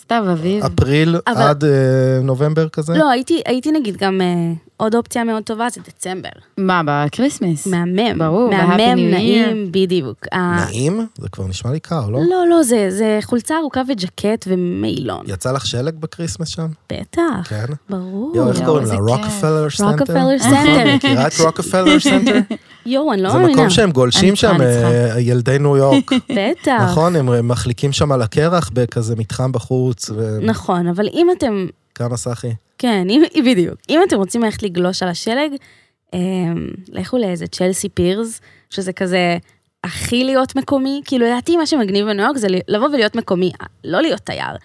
S3: סתיו, אביב.
S1: אפריל
S2: אבל-
S1: עד אה, נובמבר כזה?
S2: לא, הייתי, הייתי נגיד גם אה, עוד אופציה מאוד טובה, זה דצמבר.
S3: מה, בקריסמס?
S2: מהמם.
S3: ברור, ב-Happy
S2: מהמם,
S3: New Year.
S2: נעים, בדיוק. ה-
S1: נעים? זה כבר נשמע לי קר, לא?
S2: לא, לא, זה, זה חולצה ארוכה וג'קט ומעילון.
S1: יצא לך שלג בקריסמס שם?
S2: בטח,
S1: כן.
S2: ברור.
S1: יואו, איך
S3: יואו,
S1: קוראים
S3: איזה
S1: לה?
S3: כיף.
S1: רוקפלר סנטר?
S2: רוקפלר סנטר.
S1: מכירה את רוקפלר סנטר?
S2: יואו, אני לא
S1: זה
S2: מאמינה.
S1: מקום שהם גולשים
S3: אני צריכה,
S1: שם,
S3: אני צריכה.
S1: אה, ילדי ניו יורק.
S2: בטח.
S1: נכון, הם מחליקים שם על הקרח בכזה מתחם בחוץ. ו-
S2: נכון, אבל אם אתם
S1: כמה סחי?
S2: כן, אם, בדיוק. אם אתם רוצים ללכת לגלוש על השלג, אמ, לכו לאיזה צ'לסי פירס, שזה כזה הכי להיות מקומי. כאילו, לדעתי, מה שמגניב בניו יורק זה לבוא ולהיות מקומי, לא להיות תייר.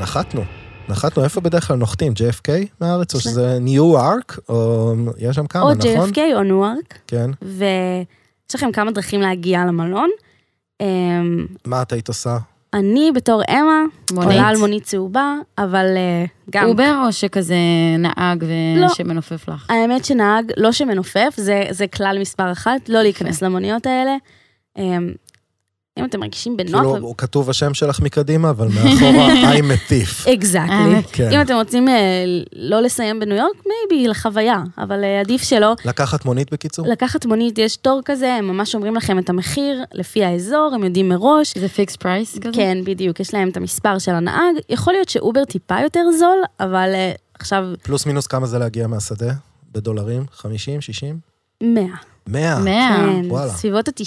S1: נחתנו. נחתנו, איפה בדרך כלל נוחתים? JFK מהארץ? או שזה ניו ארק? או יש שם כמה,
S2: או
S1: נכון?
S2: JFK או ניוארק,
S1: כן.
S2: ויש לכם כמה דרכים להגיע למלון. אמ,
S1: מה את היית עושה?
S2: אני בתור אמה,
S3: מונית.
S2: עולה על מונית צהובה, אבל אה, גם...
S3: אובר או שכזה נהג
S2: לא.
S3: שמנופף לך?
S2: האמת שנהג לא שמנופף, זה, זה כלל מספר אחת, לא להיכנס למוניות האלה. אמ, אם אתם מרגישים
S1: כאילו,
S2: בנוח...
S1: הוא כתוב השם שלך מקדימה, אבל מאחורה, I'm a thief.
S2: אקזקטלי.
S1: כן.
S2: אם אתם רוצים אה, לא לסיים בניו יורק, מייבי, לחוויה, אבל אה, עדיף שלא.
S1: לקחת מונית בקיצור?
S2: לקחת מונית, יש תור כזה, הם ממש אומרים לכם את המחיר, לפי האזור, הם יודעים מראש.
S3: זה פיקס פרייס כזה?
S2: כן, בדיוק, יש להם את המספר של הנהג. יכול להיות שאובר טיפה יותר זול, אבל אה, עכשיו
S1: פלוס מינוס כמה זה להגיע מהשדה? בדולרים? 50? 60?
S2: 100.
S1: 100?
S3: 100.
S1: וואלה.
S2: כן, סביבות ה-90,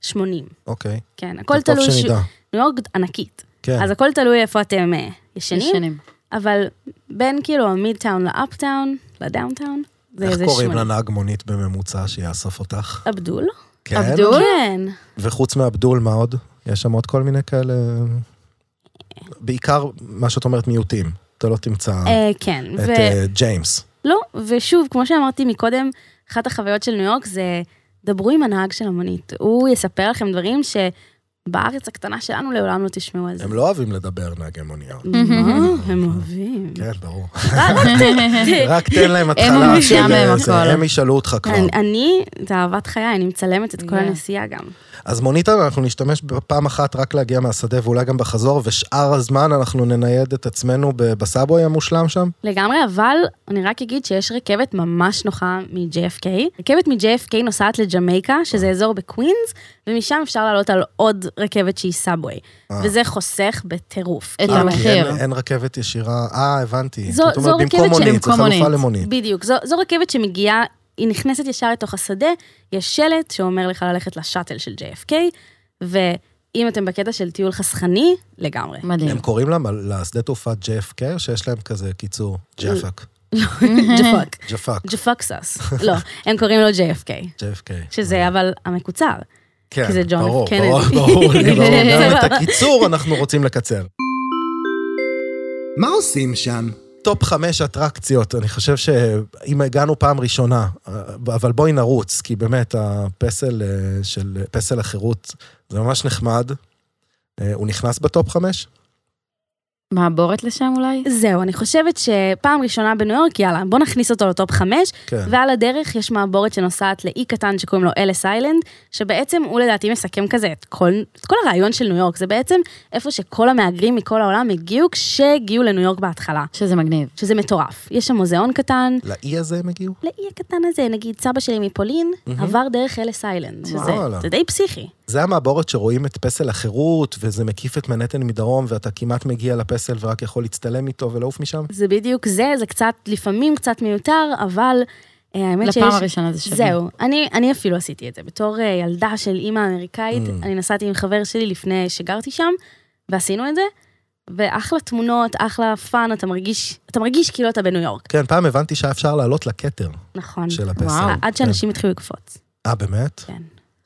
S2: 80.
S1: אוקיי.
S2: כן, הכל
S1: טוב
S2: תלוי... ש-
S1: שנדע.
S2: ניו יורק ענקית.
S1: כן.
S2: אז הכל תלוי איפה אתם אה, ישנים,
S3: שנים.
S2: אבל בין כאילו המידטאון לאפטאון, לדאונטאון, זה
S1: איך
S2: איזה
S1: קוראים
S2: שמונה.
S1: לנהג מונית בממוצע שיאסוף אותך?
S2: אבדול?
S1: כן?
S3: עבדול?
S2: כן.
S1: וחוץ מאבדול, מה עוד? יש שם עוד כל מיני כאלה... בעיקר, מה שאת אומרת, מיעוטים. אתה לא תמצא
S2: אה, כן.
S1: את
S2: ו-
S1: אה, ג'יימס.
S2: לא, ושוב, כמו שאמרתי מקודם, אחת החוויות של ניו יורק זה, דברו עם הנהג של המונית. הוא יספר לכם דברים שבארץ הקטנה שלנו לעולם לא תשמעו על זה.
S1: הם לא אוהבים לדבר, נהגי מוניות.
S2: מה? הם אוהבים.
S1: כן, ברור.
S2: אה,
S1: רק תן להם התחלה
S3: אומרים
S1: של
S3: שם הם
S1: איזה,
S3: הכל.
S1: הם ישאלו אותך כבר.
S2: אני- אני, זה אהבת חיי, אני מצלמת את כל
S3: Yeah.
S2: הנסיעה גם.
S1: אז מונית, אנחנו נשתמש בפעם אחת רק להגיע מהשדה ואולי גם בחזור, ושאר הזמן אנחנו ננייד את עצמנו ב- בסאבווי המושלם שם.
S2: לגמרי, אבל אני רק אגיד שיש רכבת ממש נוחה מ-JFK. רכבת מ-JFK נוסעת לג'מייקה,
S1: אה.
S2: שזה אזור בקווינס, ומשם אפשר לעלות על עוד רכבת שהיא סאבווי. וזה חוסך בטירוף.
S3: את
S2: כאילו.
S1: אה, כי
S3: המחיר.
S1: אין- אין רכבת ישירה, אה, הבנתי.
S2: זו-
S1: זאת אומרת,
S2: זו
S1: במקום
S2: רכבת של-
S1: מונית, זו
S3: במקום
S1: חלופה
S3: מונית.
S1: למונית.
S2: בדיוק, זו, זו רכבת שמגיעה, היא נכנסת ישר לתוך השדה, יש שלט שאומר לך ללכת לשאטל של JFK, ואם אתם בקטע של טיול חסכני, לגמרי.
S3: מדהים.
S1: הם קוראים להם על- לשדה תעופה JFK, שיש להם כזה קיצור, ג'פק.
S2: ג'פק.
S1: ג'פק,
S2: ג'פקסס. לא, הם קוראים לו JFK.
S1: JFK.
S2: שזה אבל המקוצר.
S1: כן,
S2: כי זה ג'ון F.
S1: ברור,
S2: קנדי.
S1: ברור, ברור, לי, ברור. גם את
S2: סבבה.
S1: הקיצור אנחנו רוצים לקצר.
S4: מה עושים שם?
S1: טופ חמש אטרקציות, אני חושב שאם הגענו פעם ראשונה, אבל בואי נרוץ, כי באמת הפסל אה, של, פסל החירות, זה ממש נחמד. אה, הוא נכנס בטופ חמש?
S3: מעבורת לשם אולי?
S2: זהו, אני חושבת שפעם ראשונה בניו יורק, יאללה, בוא נכניס אותו לטופ חמש,
S1: כן.
S2: ועל הדרך יש מעבורת שנוסעת לאי קטן שקוראים לו אלס איילנד, שבעצם הוא לדעתי מסכם כזה את כל, את כל הרעיון של ניו יורק, זה בעצם איפה שכל המהגרים מכל העולם הגיעו כשהגיעו לניו יורק בהתחלה,
S3: שזה מגניב.
S2: שזה מטורף. יש שם מוזיאון קטן,
S1: לאי הזה הם הגיעו?
S2: לאי הקטן הזה, נגיד סבא שלי מפולין, עבר דרך אלס איילנד, שזה
S1: וואלה.
S2: זה די פסיכי.
S1: זה המעבורת שרואים את פסל החירות, וזה מקיף את מנהטן מדרום, ואתה כמעט מגיע לפסל ורק יכול להצטלם איתו ולעוף משם?
S2: זה בדיוק זה, זה קצת, לפעמים קצת מיותר, אבל אה, האמת שיש...
S3: לפעם הראשונה זה שווה.
S2: זהו, אני, אני אפילו עשיתי את זה. בתור אה, ילדה של אימא אמריקאית,
S1: Mm.
S2: אני נסעתי עם חבר שלי לפני שגרתי שם, ועשינו את זה, ואחלה תמונות, אחלה פאן, אתה מרגיש, אתה מרגיש כאילו אתה בניו יורק.
S1: כן, פעם הבנתי שהיה אפשר לעלות לכתר
S2: נכון.
S1: של הפסל. כן.
S3: וואו.
S2: אה, עד שאנשים התחילו לקפוץ.
S1: אה, באמת?
S2: כן.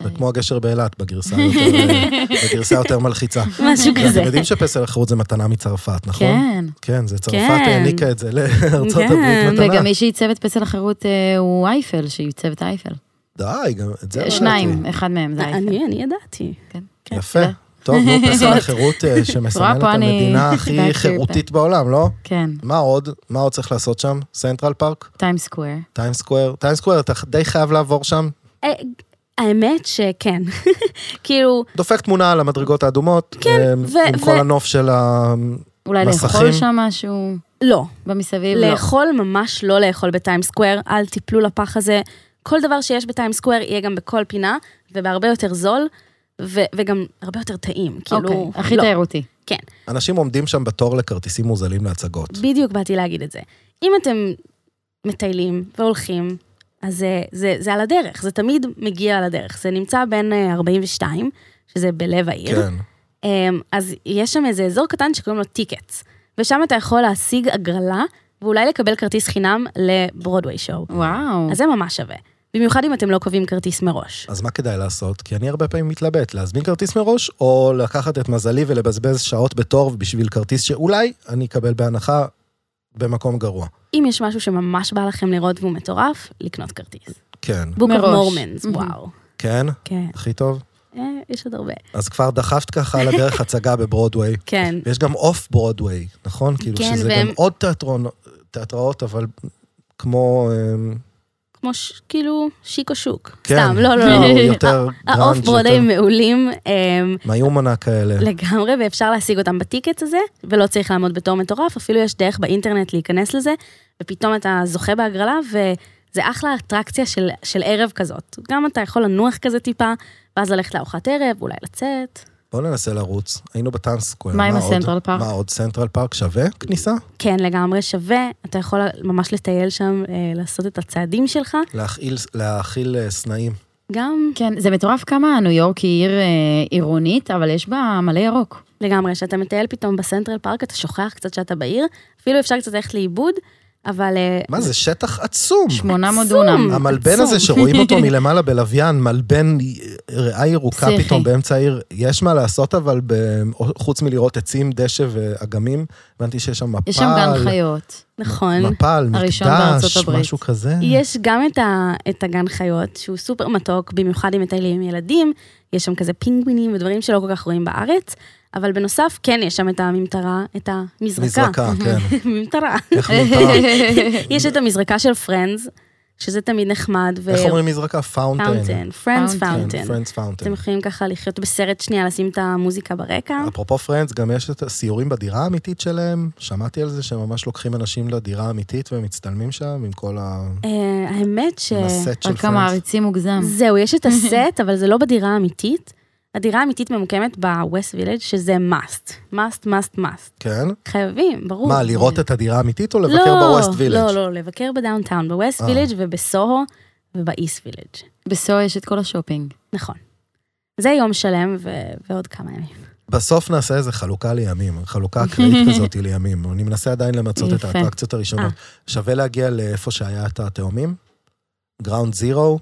S1: זה כמו הגשר באילת, בגרסה יותר- בגרסה יותר מלחיצה.
S2: משהו כזה.
S1: אתם יודעים שפסל החירות זה מתנה מצרפת, נכון?
S3: כן.
S1: כן, זה צרפת
S2: כן.
S1: העניקה את זה לארצות
S2: כן.
S1: הברית מתנה.
S3: וגם מי שעיצב את פסל החירות אה, הוא אייפל, שעיצב את אייפל.
S1: די, גם את זה לא
S3: שניים,
S1: ידעתי.
S3: אחד מהם זה אייפל.
S2: אני, אני ידעתי.
S3: כן.
S1: יפה. טוב, נו, פסל החירות אה, שמסמל את
S3: פה אני-
S1: המדינה הכי
S3: back to
S1: חירותית בעולם, לא?
S3: כן,
S1: מה עוד? מה עוד צריך לעשות שם? סנטרל פארק?
S3: טיים סקוויר.
S1: טיים סקוואר? טיים סקוואר, אתה די חייב לעבור שם.
S2: אה, האמת שכן. כאילו,
S1: דופק תמונה על המדרגות האדומות.
S2: כן,
S1: אה,
S2: ו-
S1: עם
S2: ו-
S1: כל הנוף של ה...
S3: אולי
S1: מסכים?
S3: לאכול שם משהו
S2: לא.
S3: במסביב? לא.
S2: לאכול, ממש לא לאכול בטיים סקוואר, אל תיפלו לפח הזה. כל דבר שיש בטיים סקוואר יהיה גם בכל פינה, ובהרבה יותר זול, ו- וגם הרבה יותר טעים. כאילו,
S3: אוקיי, הכי
S2: לא.
S3: תיירותי.
S2: כן,
S1: אנשים עומדים שם בתור לכרטיסים מוזלים להצגות.
S2: בדיוק באתי להגיד את זה. אם אתם מטיילים והולכים, אז זה, זה, זה על הדרך, זה תמיד מגיע על הדרך. זה נמצא בין אה, 42, שזה בלב העיר,
S1: כן.
S2: אמ, אז יש שם איזה אזור קטן שקוראים לו טיקטס, ושם אתה יכול להשיג הגרלה, ואולי לקבל כרטיס חינם לברודוויי שואו.
S3: וואו.
S2: אז זה ממש שווה. במיוחד אם אתם לא קובעים כרטיס מראש.
S1: אז מה כדאי לעשות? כי אני הרבה פעמים מתלבט, להזמין כרטיס מראש, או לקחת את מזלי ולבזבז שעות בתור בשביל כרטיס שאולי אני אקבל בהנחה במקום גרוע.
S2: אם יש משהו שממש בא לכם לראות והוא מטורף, לקנות כרטיס.
S1: כן,
S2: Book of
S3: מראש.
S2: Mormons,
S3: Mhm.
S2: וואו.
S1: כן,
S2: כן,
S1: הכי טוב.
S2: אה, יש עוד הרבה.
S1: אז כבר דחפת ככה על הדרך הצגה בברודוויי.
S2: כן,
S1: ויש גם אוף ברודוויי, נכון? כאילו
S2: כן,
S1: שזה
S2: והם-
S1: גם עוד תיאטרון, תיאטראות, אבל כמו... אמ,
S2: כמו ש- כאילו שיקו שוק.
S1: כן.
S2: סתם, לא, לא,
S1: כאילו,
S2: לא.
S1: יותר גראנג',
S2: האוף ברודאים
S1: יותר-
S2: מעולים אמ,
S1: מיומנה כאלה.
S2: לגמרי, ואפשר להשיג אותם בטיקט הזה, ולא צריך לעמוד בתור מטורף, אפילו יש דרך באינטרנט להיכנס לזה, ופתאום אתה זוכה בהגרלה, וזה אחלה אטרקציה של, של ערב כזאת. גם אתה יכול לנוח כזה טיפה, ואז ללכת לארוחת ערב, אולי לצאת.
S1: בואו ננסה לרוץ. היינו בטיים סקוויר.
S3: מה עם
S1: עוד?
S3: הסנטרל פארק?
S1: מה עוד? סנטרל פארק שווה כניסה?
S2: כן, לגמרי שווה, אתה יכול ממש לטייל שם, אה, לעשות את הצעדים שלך.
S1: להכיל, להכיל אה, סנאים.
S2: גם
S3: כן, זה מטורף כמה ניו יורק היא עיר אה, עירונית, אבל יש בה מלא ירוק.
S2: לגמרי, כשאתה מטייל פתאום בסנטרל פארק, אתה שוכח קצת שאתה בעיר, אפילו אפשר קצת ללכת לאיבוד, אבל... אה,
S1: מה זה, שטח עצום.
S3: 800 דונם.
S1: המלבן הזה
S2: עצום.
S1: שרואים אותו מלמעלה בלוויין, מלבן אה, ריאה ירוקה
S3: פסיכי.
S1: פתאום באמצע העיר, יש מה לעשות אבל ב- חוץ מלראות עצים, דשא ואגמים, הבנתי שיש שם מפל,
S3: יש שם גן חיות.
S2: נכון.
S1: מפל,
S3: הראשון
S1: מקדש,
S3: בארצות הברית.
S1: משהו כזה.
S2: יש גם את, ה, את הגן חיות, שהוא סופר מתוק, במיוחד אם מטיילים עם ילדים, יש שם כזה פינגווינים ודברים שלא כל כך רואים בארץ, אבל בנוסף, כן, יש שם את הממטרה, את המזרקה.
S1: מזרקה, כן.
S2: ממטרה.
S1: איך מותר?
S2: יש את המזרקה של פרנדס, שזה תמיד נחמד, ו...
S1: איך אומרים מזרקה? פאונטן.
S2: פאונטן, פרנדס
S1: כן,
S3: פאונטן.
S2: פאונטן.
S1: פרנדס פאונטן.
S2: אתם יכולים ככה לחיות בסרט שנייה, לשים את המוזיקה ברקע.
S1: אפרופו פרנדס, גם יש את הסיורים בדירה האמיתית שלהם. שמעתי על זה שממש לוקחים אנשים לדירה האמיתית ומצטלמים שם עם כל ה...
S2: אה, האמת ש...
S1: עם הסט של
S3: רק כמה
S1: פרנדס.
S3: עריצים מוגזם.
S2: זהו, יש את הסט, אבל זה לא בדירה האמיתית. הדירה האמיתית ממוקמת ב-West Village, שזה must. must, must, must.
S1: כן?
S2: חייבים, ברור.
S1: מה, לראות את הדירה האמיתית או לבקר בווסט וילג'?
S2: לא, לא, לבקר בדאונטאון, בווסט
S1: אה.
S2: וילג' ובסוהו ובאיסט וילג'.
S3: בסוהו יש את כל השופינג.
S2: נכון. זה יום שלם ו... ועוד כמה ימים.
S1: בסוף נעשה איזה חלוקה לימים, חלוקה אקראית כזאת היא לימים. אני מנסה עדיין למצות את
S3: יפה. אה.
S1: האטרקציות הראשונות. שווה להגיע לאיפה שהיה את התאומים? גראונד זירו,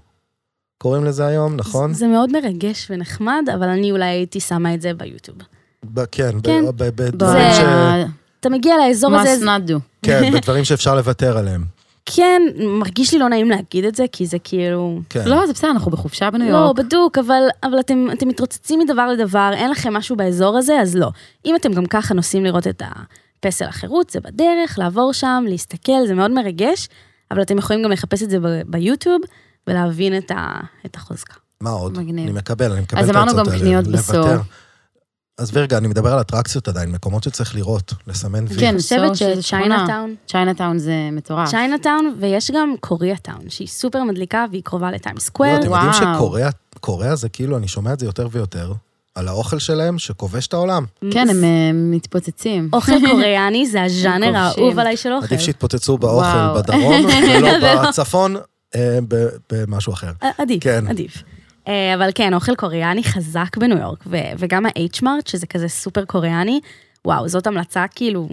S1: קוראים לזה היום, נכון?
S2: זה מאוד מרגש ונחמד, אבל אני אולי הייתי שמה את זה ביוטיוב.
S1: ב- כן, ב-
S2: כן.
S1: ב- בדברים ש...
S3: ב-
S2: אתה מגיע לאזור הזה,
S3: must
S2: אז-
S3: not do.
S1: כן, בדברים שאפשר לוותר עליהם.
S2: כן, מרגיש לי לא נעים להגיד את זה, כי זה כאילו...
S1: כן.
S3: לא, זה בסדר, אנחנו בחופשה בניו
S2: לא,
S3: יורק.
S2: בדוק, אבל, אבל אתם, אתם מתרוצצים מדבר לדבר, אין לכם משהו באזור הזה, אז לא. אם אתם גם ככה נוסעים לראות את הפסל החירות, זה בדרך, לעבור שם, להסתכל, זה מאוד מרגש, אבל אתם יכולים גם לחפש את זה ב- ביוטיוב ולהבין את, ה, את החוזקה.
S1: מה עוד?
S3: מגניב.
S1: אני מקבל, אני מקבל את
S3: אז אמרנו
S1: ההצעות האלה.
S3: גם קניות
S1: לוותר.
S3: בסוף.
S1: אז וירגה, אני מדבר על אטרקציות עדיין, מקומות שצריך לראות, לסמן וי.
S3: כן,
S2: אני חושבת
S3: בסוהו שזה שכונה.
S2: שצ'יינאטאון,
S3: צ'יינאטאון זה מטורף.
S2: צ'יינאטאון, ויש גם קוריאטאון, שהיא סופר מדליקה והיא קרובה לטיים
S3: לא
S2: סקוואר.
S1: אתם יודעים
S3: וואו.
S1: שקוריאה קוריאה זה כאילו, אני שומע את זה יותר ויותר, על האוכל שלהם שכובש את העולם.
S3: כן, הם אה, מתפוצצים.
S2: אוכל קוריאני זה הז'אנר האהוב
S3: כובשים.
S2: עליי של אוכל.
S1: עדיף שיתפוצצו באוכל
S3: אוקיי. וואו.
S1: בדרום, ולא בצפון, אה, ב- במשהו אחר.
S2: עדיף,
S1: כן.
S2: עדיף. אה, אבל כן, אוכל קוריאני חזק בניו יורק, ו- וגם ה-H-Mart, שזה כזה סופר קוריאני, וואו, זאת המלצה, כאילו,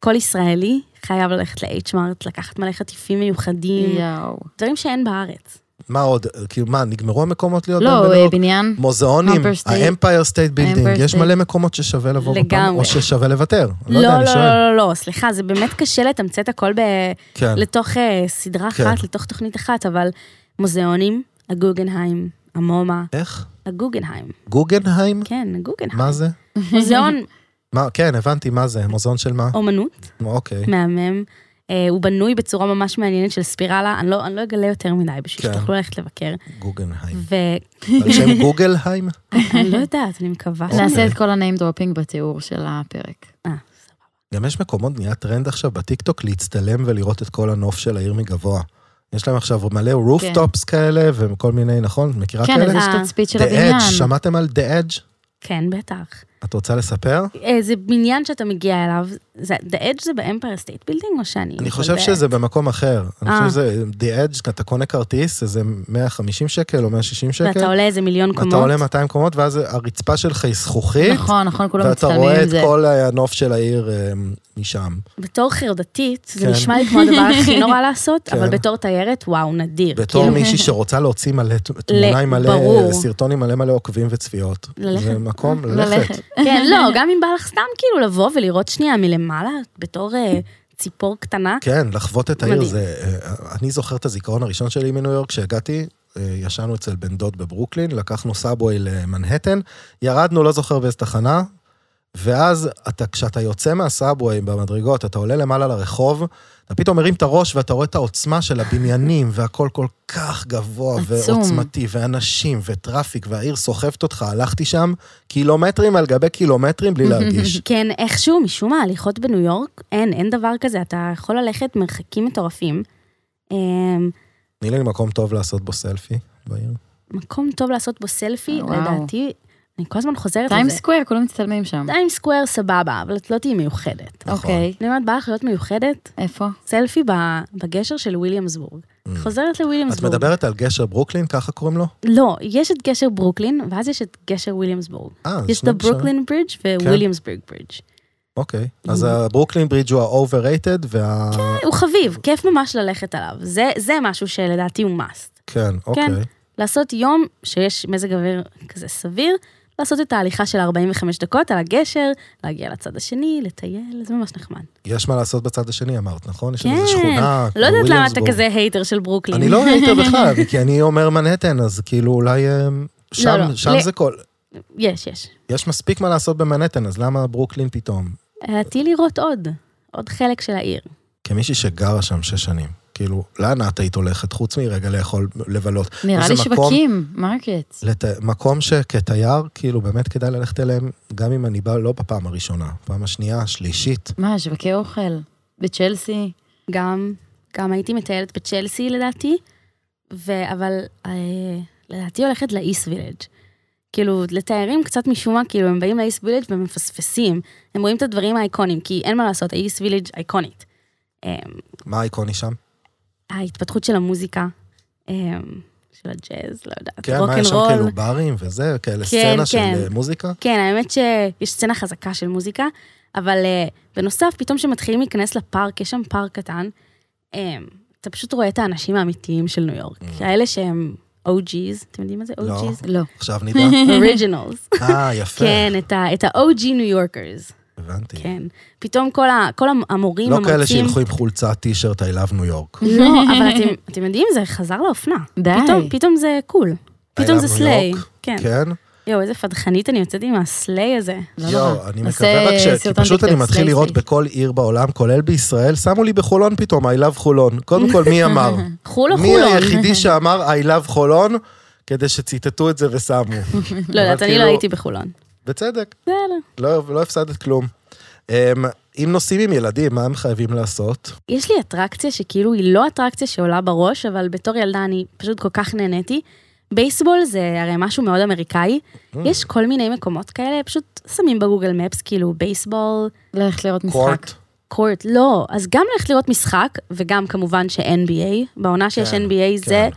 S2: כל ישראלי חייב ללכת ל-H-Mart, לקחת מלא חטיפים מיוחדים,
S3: יואו.
S2: דברים שאין בארץ.
S1: מה עוד? כאילו, מה, נגמרו המקומות להיות
S3: לא,
S1: בניו
S3: אה,
S1: יורק?
S3: בניין.
S1: מוזיאונים,
S3: Empire State.
S1: האמפייר סטייט בילדינג,
S3: Empire
S1: יש
S3: State.
S1: מלא מקומות ששווה לבוא בפעם,
S2: לגמרי.
S1: או ששווה לוותר. לא
S2: לא,
S1: יודע,
S2: לא,
S1: אני
S2: לא,
S1: שואל.
S2: לא, לא, סליחה, זה באמת קשה לתמצת את הכל ב-
S1: כן.
S2: לתוך אה, סדרה
S1: כן.
S2: אחת, לתוך תוכנית אחת, אבל מוזיאונים, הגוגנהיים, המומה,
S1: איך?
S2: הגוגנהיים,
S1: גוגנהיים?
S2: כן, הגוגנהיים.
S1: מה זה?
S2: מוזיאון
S1: מה, כן, הבנתי, מה זה? מוזיאון של מה?
S2: אומנות.
S1: אוקיי.
S2: מהמם. אה, הוא בנוי בצורה ממש מעניינת של ספירלה, אני לא, אני לא אגלה יותר מדי בשביל
S1: כן.
S2: שתוכלו ללכת לבקר.
S1: גוגנהיים.
S2: ואני
S1: על שם גוגלהיים?
S2: לא יודעת, אני מקווה. ש-
S1: אוקיי.
S3: נעשה את כל הניים דרופינג בתיאור של הפרק.
S2: אה,
S1: גם יש מקומות, נהיה טרנד עכשיו בטיקטוק להצטלם ולראות את כל הנוף של העיר מגבוה. יש להם עכשיו מלא רופטופס כאלה וכל מיני, נכון? מכירה
S3: כן,
S1: כאלה?
S3: אז יש
S2: אה.
S3: תצפית של
S1: The Edge,
S3: הבניין.
S1: שמעתם על The Edge?
S2: כן, בטח.
S1: את רוצה לספר?
S2: אה, זה בניין שאתה מגיע אליו, זה- The Edge זה באמפר סטייט בילדינג או שאני... לא
S1: אני חושב
S2: מתבלבלת?
S1: שזה במקום אחר. אני
S2: אה.
S1: חושב שזה The Edge, אתה קונה כרטיס, איזה 150 שקל או 160 שקל.
S2: ואתה עולה איזה מיליון קומות.
S1: אתה עולה 200 קומות, ואז הרצפה שלך היא זכוכית.
S3: נכון, נכון, כולם
S1: ואתה
S3: מצטלמים
S1: רואה
S3: עם
S1: את
S3: זה.
S1: כל הנוף של העיר אה, משם.
S2: בתור חרדתית, זה
S1: כן.
S2: נשמע לי כמו הדבר הכי נורא לעשות,
S1: כן.
S2: אבל בתור תיירת, וואו, נדיר.
S1: בתור
S2: כאילו,
S1: מישהי שרוצה להוציא מלא ת- תמונה עם מלא,
S2: ברור.
S1: סרטון עם מלא מלא עוקבים וצפיות.
S2: ללכת.
S1: זה מקום ללכת.
S3: ללכת.
S2: כן, לא, גם אם בא לך סתם כאילו לבוא ולראות שנייה מלמעלה, בתור אה, ציפור קטנה.
S1: כן, לחוות את העיר
S2: מדהים.
S1: זה... אה, אני זוכר את הזיכרון הראשון שלי מניו יורק, כשהגעתי, אה, ישנו אצל בן דוד בברוקלין, לקחנו סאבווי למנהטן, ירדנו, לא זוכר באיזה תחנה, ואז אתה, כשאתה יוצא מהסאבווי במדרגות, אתה עולה למעלה לרחוב, אתה פתאום מרים את הראש ואתה רואה את העוצמה של הבניינים, והכל כל כך גבוה
S3: עצום.
S1: ועוצמתי, ואנשים, וטראפיק, והעיר סוחבת אותך. הלכתי שם קילומטרים על גבי קילומטרים בלי להרגיש.
S2: כן, איכשהו, משום מה, הליכות בניו יורק, אין, אין דבר כזה, אתה יכול ללכת מרחקים מטורפים. אמ,
S1: תני לי מקום טוב לעשות בו סלפי בעיר.
S2: מקום טוב לעשות בו סלפי,
S3: אה, וואו.
S2: לדעתי, אני כל הזמן חוזרת על
S3: טיים
S2: זה.
S3: סקוויר, כולם מצטלמים שם.
S2: טיים סקוויר סבבה, אבל את לא תהיי מיוחדת.
S3: אוקיי,
S2: אני אומרת, בא לך להיות מיוחדת?
S3: איפה?
S2: סלפי ב- בגשר של וויליאמסבורג. חוזרת
S1: Mm. את
S2: לוויליאמסבורג.
S1: מדברת על גשר ברוקלין, ככה קוראים לו?
S2: לא, יש את גשר ברוקלין, ואז יש את גשר וויליאמסבורג.
S1: אה, זה
S2: יש את
S1: שני גשרים.
S2: הברוקלין Mm-hmm. ברידג'
S1: כן.
S2: וויליאמסבורג ברידג'.
S1: אוקיי. אז הברוקלין ברידג' הוא ה-overrated, וה...
S2: הוא חביב, כיף ממש ללכת עליו. זה, זה משהו שלדעתי הוא must.
S1: כן, אוקיי.
S2: לעשות יום שיש מזג אוויר כזה סביר, לעשות את ההליכה של 45 דקות על הגשר, להגיע לצד השני, לטייל, זה ממש נחמד.
S1: יש מה לעשות בצד השני, אמרת, נכון? יש
S2: כן.
S1: לנו איזו שכונה,
S2: לא יודעת למה אתה
S1: וויליאמסבורג.
S2: כזה הייטר של ברוקלין.
S1: אני לא הייתי בכלל, כי אני אומר מנהטן, אז כאילו אולי... אה, שם,
S2: לא,
S1: שם
S2: ל-
S1: זה כל...
S2: יש, יש.
S1: יש מספיק מה לעשות במנהטן, אז למה ברוקלין פתאום?
S2: דעתי אה, לראות עוד, עוד חלק של העיר.
S1: כמישהי שגרה שם שש שנים, כאילו, לאן את היית הולכת, חוץ מרגע לאכול, לבלות?
S3: נראה
S1: וזה
S3: לי
S1: מקום-
S3: שווקים, מרקט.
S1: לת... מקום שכתייר, כאילו, באמת כדאי ללכת אליהם, גם אם אני בא לא בפעם הראשונה, פעם השנייה, השלישית.
S3: מה, שווקי אוכל? בצ'לסי?
S2: גם, גם הייתי מטיילת בצ'לסי לדעתי, ו... אבל אה, לדעתי הולכת לאיסט וילג'. כאילו, לתיירים קצת משום מה, כאילו, הם באים לאיסט וילג' והם מפספסים. הם רואים את הדברים האיקונים, כי אין מה לעשות, האיסט וילג' אייקונית. אה,
S1: מה האיקוני שם?
S2: ההתפתחות של המוזיקה, אה, של הג'אז, לא יודעת,
S1: כן,
S2: רוק
S1: מה,
S2: אנד
S1: יש שם
S2: רול.
S1: כאילו ברים וזה, כאלה
S2: כן,
S1: סצנה של
S2: כן.
S1: אה, מוזיקה?
S2: כן, האמת שיש סצנה חזקה של מוזיקה, אבל אה, בנוסף, פתאום כשמתחילים להיכנס לפארק, יש שם פארק קטן, אה, אתה פשוט רואה את האנשים האמיתיים של ניו יורק, כאלה שהם OG's, אתם יודעים מה זה
S1: Mm. לא.
S2: OG's?
S3: לא.
S1: עכשיו נדע.
S2: אוריג'ינלס.
S1: אה, יפה,
S2: כן, את ה- את ה-OG ניו יורקרס,
S1: הבנתי.
S2: כן. פתאום כל ה- כל המורים,
S1: לא כאלה
S2: המרצים-
S1: שילכו עם חולצה, טישרט, I love New York.
S2: לא, אבל אתם- אתם יודעים, זה חזר לאופנה.
S3: די.
S2: פתאום- פתאום זה קול. פתאום
S1: I love
S2: זה
S1: New
S2: סליי.
S1: York,
S2: כן.
S1: כן?
S2: יואו, איזה פדחנית אני יוצאת עם הסליי הזה.
S3: לא
S1: יואו,
S3: נורא.
S1: אני
S3: נעשה
S1: מקווה רק ש... כי
S3: סרטון
S1: פשוט אני
S3: טיקטוק
S1: מתחיל
S3: סלפי.
S1: לראות בכל עיר בעולם, כולל בישראל, שמו לי בחולון פתאום, I love חולון. קודם כל, מי אמר?
S2: חולו
S1: מי
S2: חולו.
S1: היחידי שאמר I love חולון, כדי שציטטו את זה ושמו. אבל
S2: לא יודעת, אני לא
S1: כאילו-
S2: הייתי בחולון.
S1: בצדק,
S2: בסדר.
S1: לא לא הפסדת כלום. אמ, אם נוסעים עם ילדים, מה הם חייבים לעשות?
S2: יש לי אטרקציה שכאילו היא לא אטרקציה שעולה בראש, אבל בתור ילדה אני פשוט כל כך נהניתי. בייסבול זה הרי משהו מאוד אמריקאי.
S1: Mm. Hmm,
S2: יש כל מיני מקומות כאלה, פשוט שמים בגוגל מפס, כאילו בייסבול,
S3: ללכת לא, לראות משחק.
S1: קורט?
S2: קורט, לא. אז גם ללכת לראות משחק, וגם כמובן ש-NBA, בעונה שיש
S1: כן,
S2: NBA
S1: כן.
S2: זה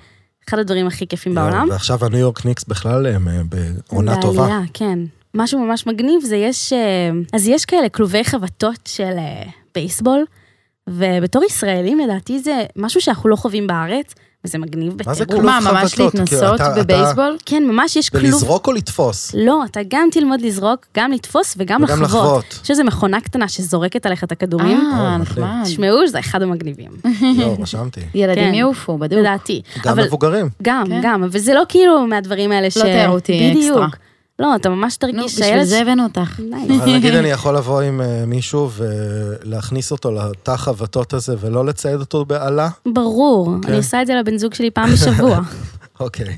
S2: אחד הדברים הכי כיפים
S1: יואו,
S2: בעולם.
S1: לא, ועכשיו הניו יורק ניקס בכלל הם אה, בעונה
S2: בעלייה,
S1: טובה.
S2: כן. משהו ממש מגניב זה יש, אה, אז יש כאלה כלובי חבטות של אה, בייסבול, ובתור ישראלים לדעתי זה משהו שאנחנו לא חווים בארץ, וזה מגניב בטירוף.
S1: מה זה כלוב
S3: מה, ממש
S1: חבטות?
S3: להתנסות
S1: לא כאילו, אתה-
S3: בבייסבול?
S2: כן, ממש יש
S1: אתה-
S2: כלוב.
S1: ולזרוק או לתפוס?
S2: לא, אתה גם תלמוד לזרוק, גם לתפוס וגם
S1: וגם
S2: לחוות.
S1: לחבוט.
S2: יש איזו מכונה קטנה שזורקת עליך את הכדורים.
S1: אה,
S3: אה,
S1: מדהים.
S3: נחמד.
S2: תשמעו, זה אחד המגניבים,
S1: לא, רשמתי.
S3: ילדים
S2: כן.
S3: יעופו, בדיוק.
S2: לדעתי.
S1: גם
S2: אבל
S1: מבוגרים.
S2: גם,
S3: כן.
S2: גם, אבל זה לא כאילו מהדברים האלה ש...
S3: תיירותי,
S2: בדיוק.
S3: אקסטרה.
S2: לא, אתה ממש
S3: נו,
S2: תרגיש
S3: בשביל זה הבאנו אותך.
S2: די.
S1: אבל נגיד אני יכול לבוא עם אה, מישהו ולהכניס אותו לתא חבטות הזה ולא לצייד אותו באלה?
S2: ברור,
S1: כן.
S2: אני עושה את זה לבן זוג שלי פעם בשבוע.
S1: אוקיי.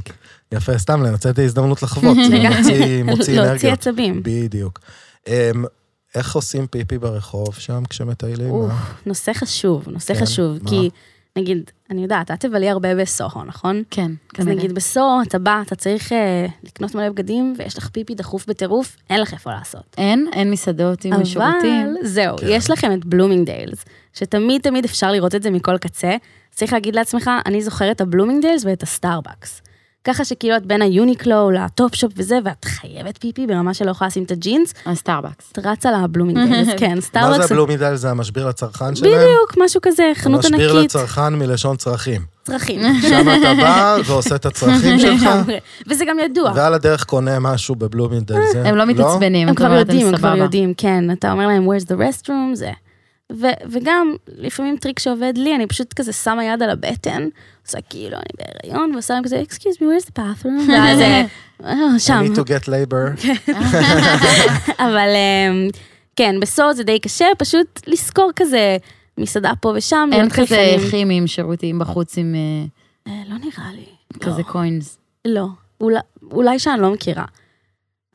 S1: יפה, סתם לנצל את ההזדמנות לחוות. זה
S3: כן.
S2: לגמרי.
S1: מוציא- מוציא
S2: להוציא
S1: אנרגיה.
S2: עצבים.
S1: בדיוק. אמ, איך עושים פיפי ברחוב שם כשמטיילים?
S2: אוף,
S1: מה?
S2: נושא חשוב, נושא
S1: כן,
S2: חשוב,
S1: מה?
S2: כי נגיד, אני יודעת, את תבלי הרבה בסוהו, נכון?
S3: כן,
S2: אז
S3: כנראה.
S2: נגיד בסוהו, אתה בא, אתה צריך אה, לקנות מלא בגדים, ויש לך פיפי דחוף בטירוף, אין לך איפה לעשות.
S3: אין, אין מסעדות עם
S2: אבל
S3: שירותים.
S2: זהו,
S1: כן.
S2: יש לכם את בלומינגדיילס, שתמיד תמיד אפשר לראות את זה מכל קצה. צריך להגיד לעצמך, אני זוכרת את הבלומינגדיילס ואת הסטארבקס. ככה שכאילו את בין היוניקלו לטופשופ וזה, ואת חייבת פיפי ברמה שלא יכולה לשים את הג'ינס,
S3: אה, הסטארבקס.
S2: את רצה לבלומינגדיילס, כן,
S1: מה זה
S2: סטארבקס.
S1: הבלומידל? זה המשביר לצרכן שלהם?
S2: בדיוק, משהו כזה, חנות
S1: המשביר
S2: ענקית,
S1: לצרכן מלשון צרכים.
S2: צרכים.
S1: שם אתה בא ועושה את הצרכים שלך,
S2: לגמרי. וזה גם ידוע.
S1: ועל הדרך קונה משהו בבלומינדל. זה-
S3: הם לא מתעצבנים,
S2: הם
S3: את
S2: כבר
S3: אומרת, הם
S2: יודעים, הם כבר
S3: סבבה.
S2: יודעים, כן. אתה אומר להם, where's the restroom, זה. ו- וגם, לפעמים טריק שעובד לי, אני פשוט כזה שמה יד על הבטן, עושה כאילו, אני בהיריון, ועושה להם כזה, excuse me, where's the bathroom, ואז, אה, "אה,
S1: I
S2: שם.
S1: need to get labor.
S3: כן.
S2: אבל אמ, כן, בסוד זה די קשה, פשוט לזכור כזה מסעדה פה ושם.
S3: אין
S2: להיות
S3: כזה
S2: חיפנים.
S3: כימיים שירותים בחוץ עם אה,
S2: אה, לא נראה לי.
S3: כזה
S2: לא.
S3: קוינס.
S2: לא. אולי- אולי שאני לא מכירה.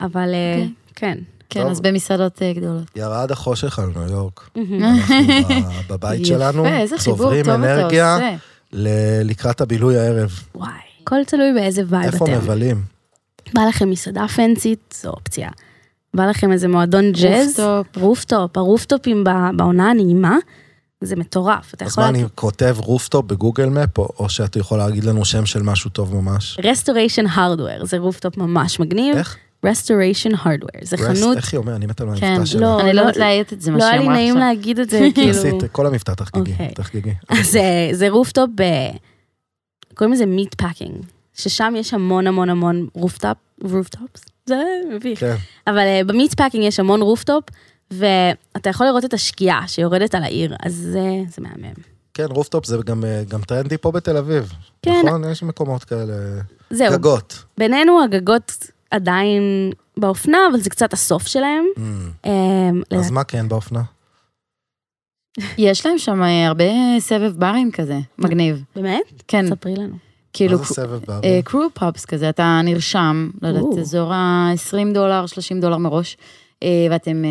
S2: אבל אה,
S3: אוקיי.
S2: כן.
S3: כן,
S1: טוב.
S3: אז במסעדות אה, גדולות.
S1: ירד החושך על ניו יורק.
S3: אה?
S2: מהמם.
S1: אנחנו ב- בבית שלנו
S3: יפה, איזה חיבור
S1: צוברים
S3: טוב אתה
S1: אנרגיה
S3: עושה.
S1: ל- לקראת הבילוי הערב.
S2: וואי. הכל תלוי באיזה
S3: אה,
S2: וייב
S1: איפה
S2: אתם.
S1: מבלים?
S2: בא לכם מסעדה פנסית, זו אופציה. בא לכם איזה מועדון ג'אז,
S3: רופטופ.
S2: רופטופ, הרופטופים ב- בעונה הנעימה, זה מטורף. אתה
S1: אז
S3: נכון.
S2: יכול...
S1: מה, אני כותב רופטופ בגוגל מפ, או- או שאת יכולה להגיד לנו שם של משהו טוב ממש?
S2: רסטוריישן הרדוור, זה רופטופ ממש
S3: כן,
S2: מגניב.
S1: איך?
S2: רסטוריישן הרדוור, זה
S1: רסט-
S2: חנות...
S1: איך היא אומרת? אני מת על
S3: כן,
S1: המבטא שלה.
S2: לא,
S3: אני לא
S2: לא-
S3: יודעת להעיט את זה, מה
S2: לא היה
S3: שהיא
S2: לי
S3: אמרה
S2: נעים
S3: עכשיו.
S2: להגיד את זה, כאילו...
S1: תעשי את כל המבטא תחגיגי,
S2: אוקיי.
S1: תחגיגי.
S2: אז אה, זה רופטופ ב... קוראים לזה מיט פאקינג, ששם יש המון המון המון רופטופ, רופטופס, זה מביך.
S1: כן.
S2: אבל אה, במיט פאקינג יש המון רופטופ, ואתה יכול לראות את השקיעה שיורדת על העיר, אז זה, זה מהמם.
S1: כן, רופטופ זה גם, אה, גם טרנדי פה בתל אביב.
S2: כן.
S1: נכון? יש מקומות כאלה.
S2: זהו, גגות.
S1: גגות.
S2: בינינו הגגות עדיין באופנה, אבל זה קצת הסוף שלהם.
S1: Mm.
S2: אמ,
S1: אז
S2: לדעתי-
S1: מה כן באופנה?
S3: יש להם שם אה, הרבה סבב ברים כזה, מגניב.
S2: באמת?
S3: כן,
S2: ספרי לנו.
S1: מה
S3: כאילו,
S1: זה סבב
S3: אה,
S1: בערים?
S3: קרו פאבס כזה, אתה נרשם, לא יודעת,
S2: או.
S3: אזור ה-20 דולר, 30 דולר מראש, אה, ואתם אה,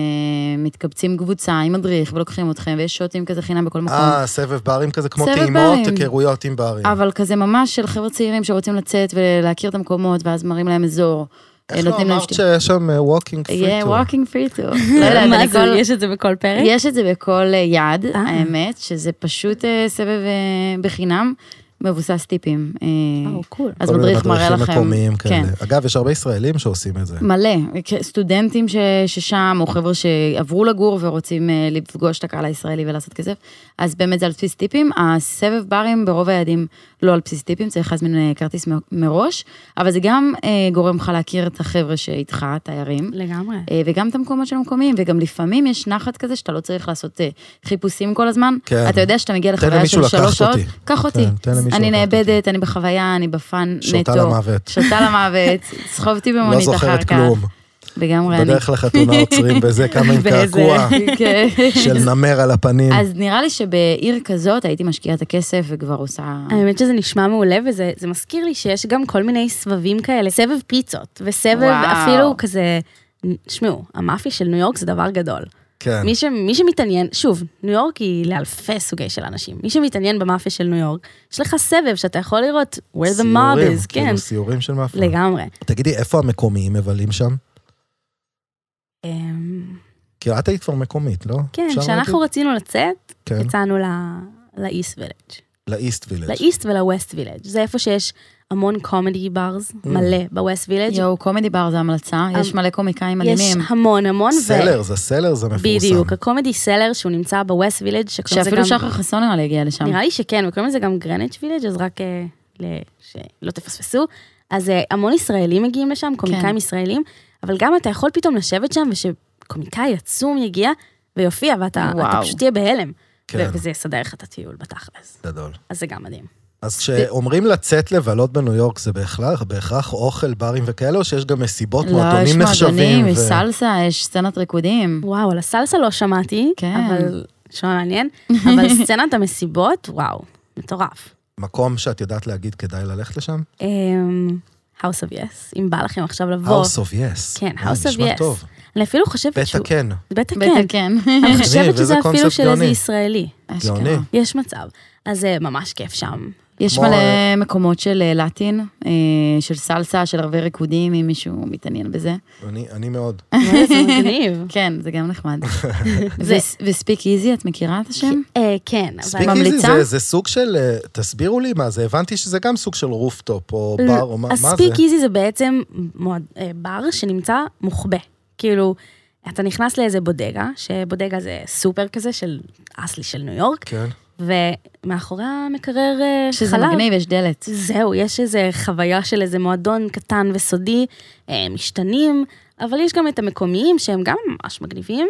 S3: מתקבצים קבוצה עם מדריך ולוקחים אתכם, ויש שוטים כזה חינם בכל מקום.
S1: אה, כן. סבב בערים כזה, כמו
S3: סבב
S1: טעימות,
S3: בערים.
S1: היכרויות עם בערים.
S3: אבל כזה ממש של חבר'ה צעירים שרוצים לצאת ולהכיר את המקומות, ואז מרים להם אזור, אה,
S1: איך לא
S3: נותנים להם
S1: אמרת
S3: שתייה.
S1: שיש שם ווקינג פרי
S3: יהיה
S1: טור?
S3: ווקינג פרי טור. לא יודעת,
S2: מה
S3: אני
S2: זה,
S3: כל...
S2: יש את זה בכל פרק?
S3: יש את זה בכל אה, יד,
S2: אה.
S3: האמת, שזה פשוט אה, סבב אה, בחינם, מבוסס טיפים. אה,
S2: וואו, קול.
S3: אז מדריך מראה לכם.
S1: מקומיים
S3: כן.
S1: כאלה. אגב, יש הרבה ישראלים שעושים את זה.
S3: מלא, כ- סטודנטים ש, ששם, או חבר'ה שעברו לגור ורוצים אה, לפגוש את הקהל הישראלי ולעשות כסף, אז באמת זה על בסיס טיפים. הסבב ברים ברוב היעדים לא על בסיס טיפים, צריך להזמין אה, כרטיס מ- מראש, אבל זה גם אה, גורם לך להכיר את החבר'ה שאיתך, תיירים.
S2: לגמרי.
S3: אה, וגם את המקומות של המקומיים, וגם לפעמים יש נחת כזה שאתה לא צריך לעשות אה, חיפושים כל הזמן.
S1: כן.
S3: אתה יודע שאתה מגיע לחוויה
S1: למישהו
S3: של שלוש
S1: לקחת
S3: שעות.
S1: אותי.
S3: קח אותי.
S1: כן, תן למישהו
S3: אני
S1: לקחת
S3: נאבדת, אני בחוויה, אני בפאן נטו.
S1: שותה למוות.
S3: שותה למוות, סחוב אותי
S1: לא
S3: במונית אחר
S1: זוכרת
S3: כך.
S1: כלום.
S3: לגמרי אני.
S1: בדרך לחתונה עוצרים בזה כמה עם
S2: באיזה-
S1: קעקוע
S3: כן.
S1: של נמר על הפנים.
S3: אז נראה לי שבעיר כזאת הייתי משקיעה את הכסף וכבר עושה...
S2: האמת שזה נשמע מעולה, וזה זה מזכיר לי שיש גם כל מיני סבבים כאלה, סבב פיצות, וסבב
S3: וואו.
S2: אפילו כזה, שמעו, המאפי של ניו יורק זה דבר גדול.
S1: כן.
S2: מי, ש, מי שמתעניין, שוב, ניו יורק היא לאלפי סוגי של אנשים. מי שמתעניין במאפיה של ניו יורק, יש לך סבב שאתה יכול לראות where the mob
S1: סיורים,
S2: is, כן,
S1: כאילו סיורים של מאפיה.
S2: לגמרי.
S1: תגידי, איפה המקומיים מבלים שם?
S2: אמ,
S1: כי את היית כבר מקומית, לא?
S2: כן,
S1: אפשר
S2: כשאנחנו רצינו לצאת,
S1: להגיד? כן,
S2: יצאנו ל- לאיסט וילג'.
S1: לאיסט וילג'.
S2: לאיסט ולווסט וילג'. זה איפה שיש המון קומדי ברס,
S1: Mm.
S2: מלא, בווסט וילג'.
S3: יואו, קומדי בר זה המלצה, יש מלא קומיקאים
S2: יש
S3: מדהימים.
S2: המון המון. ו-
S1: סלר, זה סלר, זה מפורסם.
S2: בדיוק, הקומדי סלר שהוא נמצא בווסט וילג', שקוראים לזה
S3: שאפילו
S2: גם...
S3: שחר חסון נראה לי הגיע לשם.
S2: נראה לי שכן, וקוראים לזה גם גרניץ' וילג', אז רק אה, ל- שלא תפספסו. אז אה, המון ישראלים מגיעים לשם,
S3: כן.
S2: קומיקאים ישראלים, אבל גם אתה יכול פתאום לשבת שם ושקומיקאי עצום יגיע ויופיע, ואתה אתה
S3: וואו.
S2: פשוט תהיה בהלם.
S1: כן.
S2: וזה יסדר לך את הטיול בתכלס.
S1: גדול.
S2: אז זה גם מדהים.
S1: אז כשאומרים לצאת לבלות בניו יורק, זה בהכרח, בהכרח אוכל, ברים וכאלה, או שיש גם מסיבות,
S3: לא, יש
S1: מועדונים נחשבים?
S3: מועדונים, יש
S1: ו-
S3: סלסה, יש סצנת ריקודים.
S2: וואו, על הסלסה לא שמעתי,
S3: כן.
S2: אבל נשמע מעניין, אבל סצנת המסיבות, וואו, מטורף.
S1: מקום שאת יודעת להגיד כדאי ללכת לשם?
S2: אמ, House of Yes, אם בא לכם עכשיו לבוא.
S1: House of Yes.
S2: כן,
S1: אה,
S2: House of
S1: נשמע
S2: Yes.
S1: טוב.
S2: אני אפילו חושבת
S1: בית
S2: שהוא...
S1: הקן.
S2: בית הקן.
S3: בטח כן.
S2: אני
S1: מגניב,
S2: חושבת
S1: איזה
S2: שזה אפילו
S1: קונספט
S2: של איזה
S1: גאוני.
S2: ישראלי.
S3: אשכרה.
S1: גאוני.
S2: יש מצב. אז זה ממש כיף שם.
S3: יש
S1: כמו-
S3: מלא מקומות של אה, לטין, אה, של סלסה, של הרבה ריקודים, אם מישהו מתעניין בזה.
S1: אני, אני מאוד.
S2: וואלה, זה מגניב.
S3: כן, זה גם נחמד. וס- וספיק איזי, את מכירה את השם?
S2: אה, כן,
S1: ספיק
S2: אבל...
S1: איזי
S3: ממליצה?
S1: זה, זה סוג של, אה, תסבירו לי מה זה, הבנתי שזה גם סוג של רופטופ או בר או מה, מה זה.
S2: הספיק איזי זה בעצם מועד- אה, בר שנמצא מוחבא. כאילו, אתה נכנס לאיזה בודגה, שבודגה זה סופר כזה של אסלי של ניו יורק,
S1: כן.
S2: ומאחורי המקרר אה, חלב.
S3: שזה מגניב, יש דלת.
S2: זהו, יש איזו חוויה של איזה מועדון קטן וסודי, אה, משתנים, אבל יש גם את המקומיים שהם גם ממש מגניבים,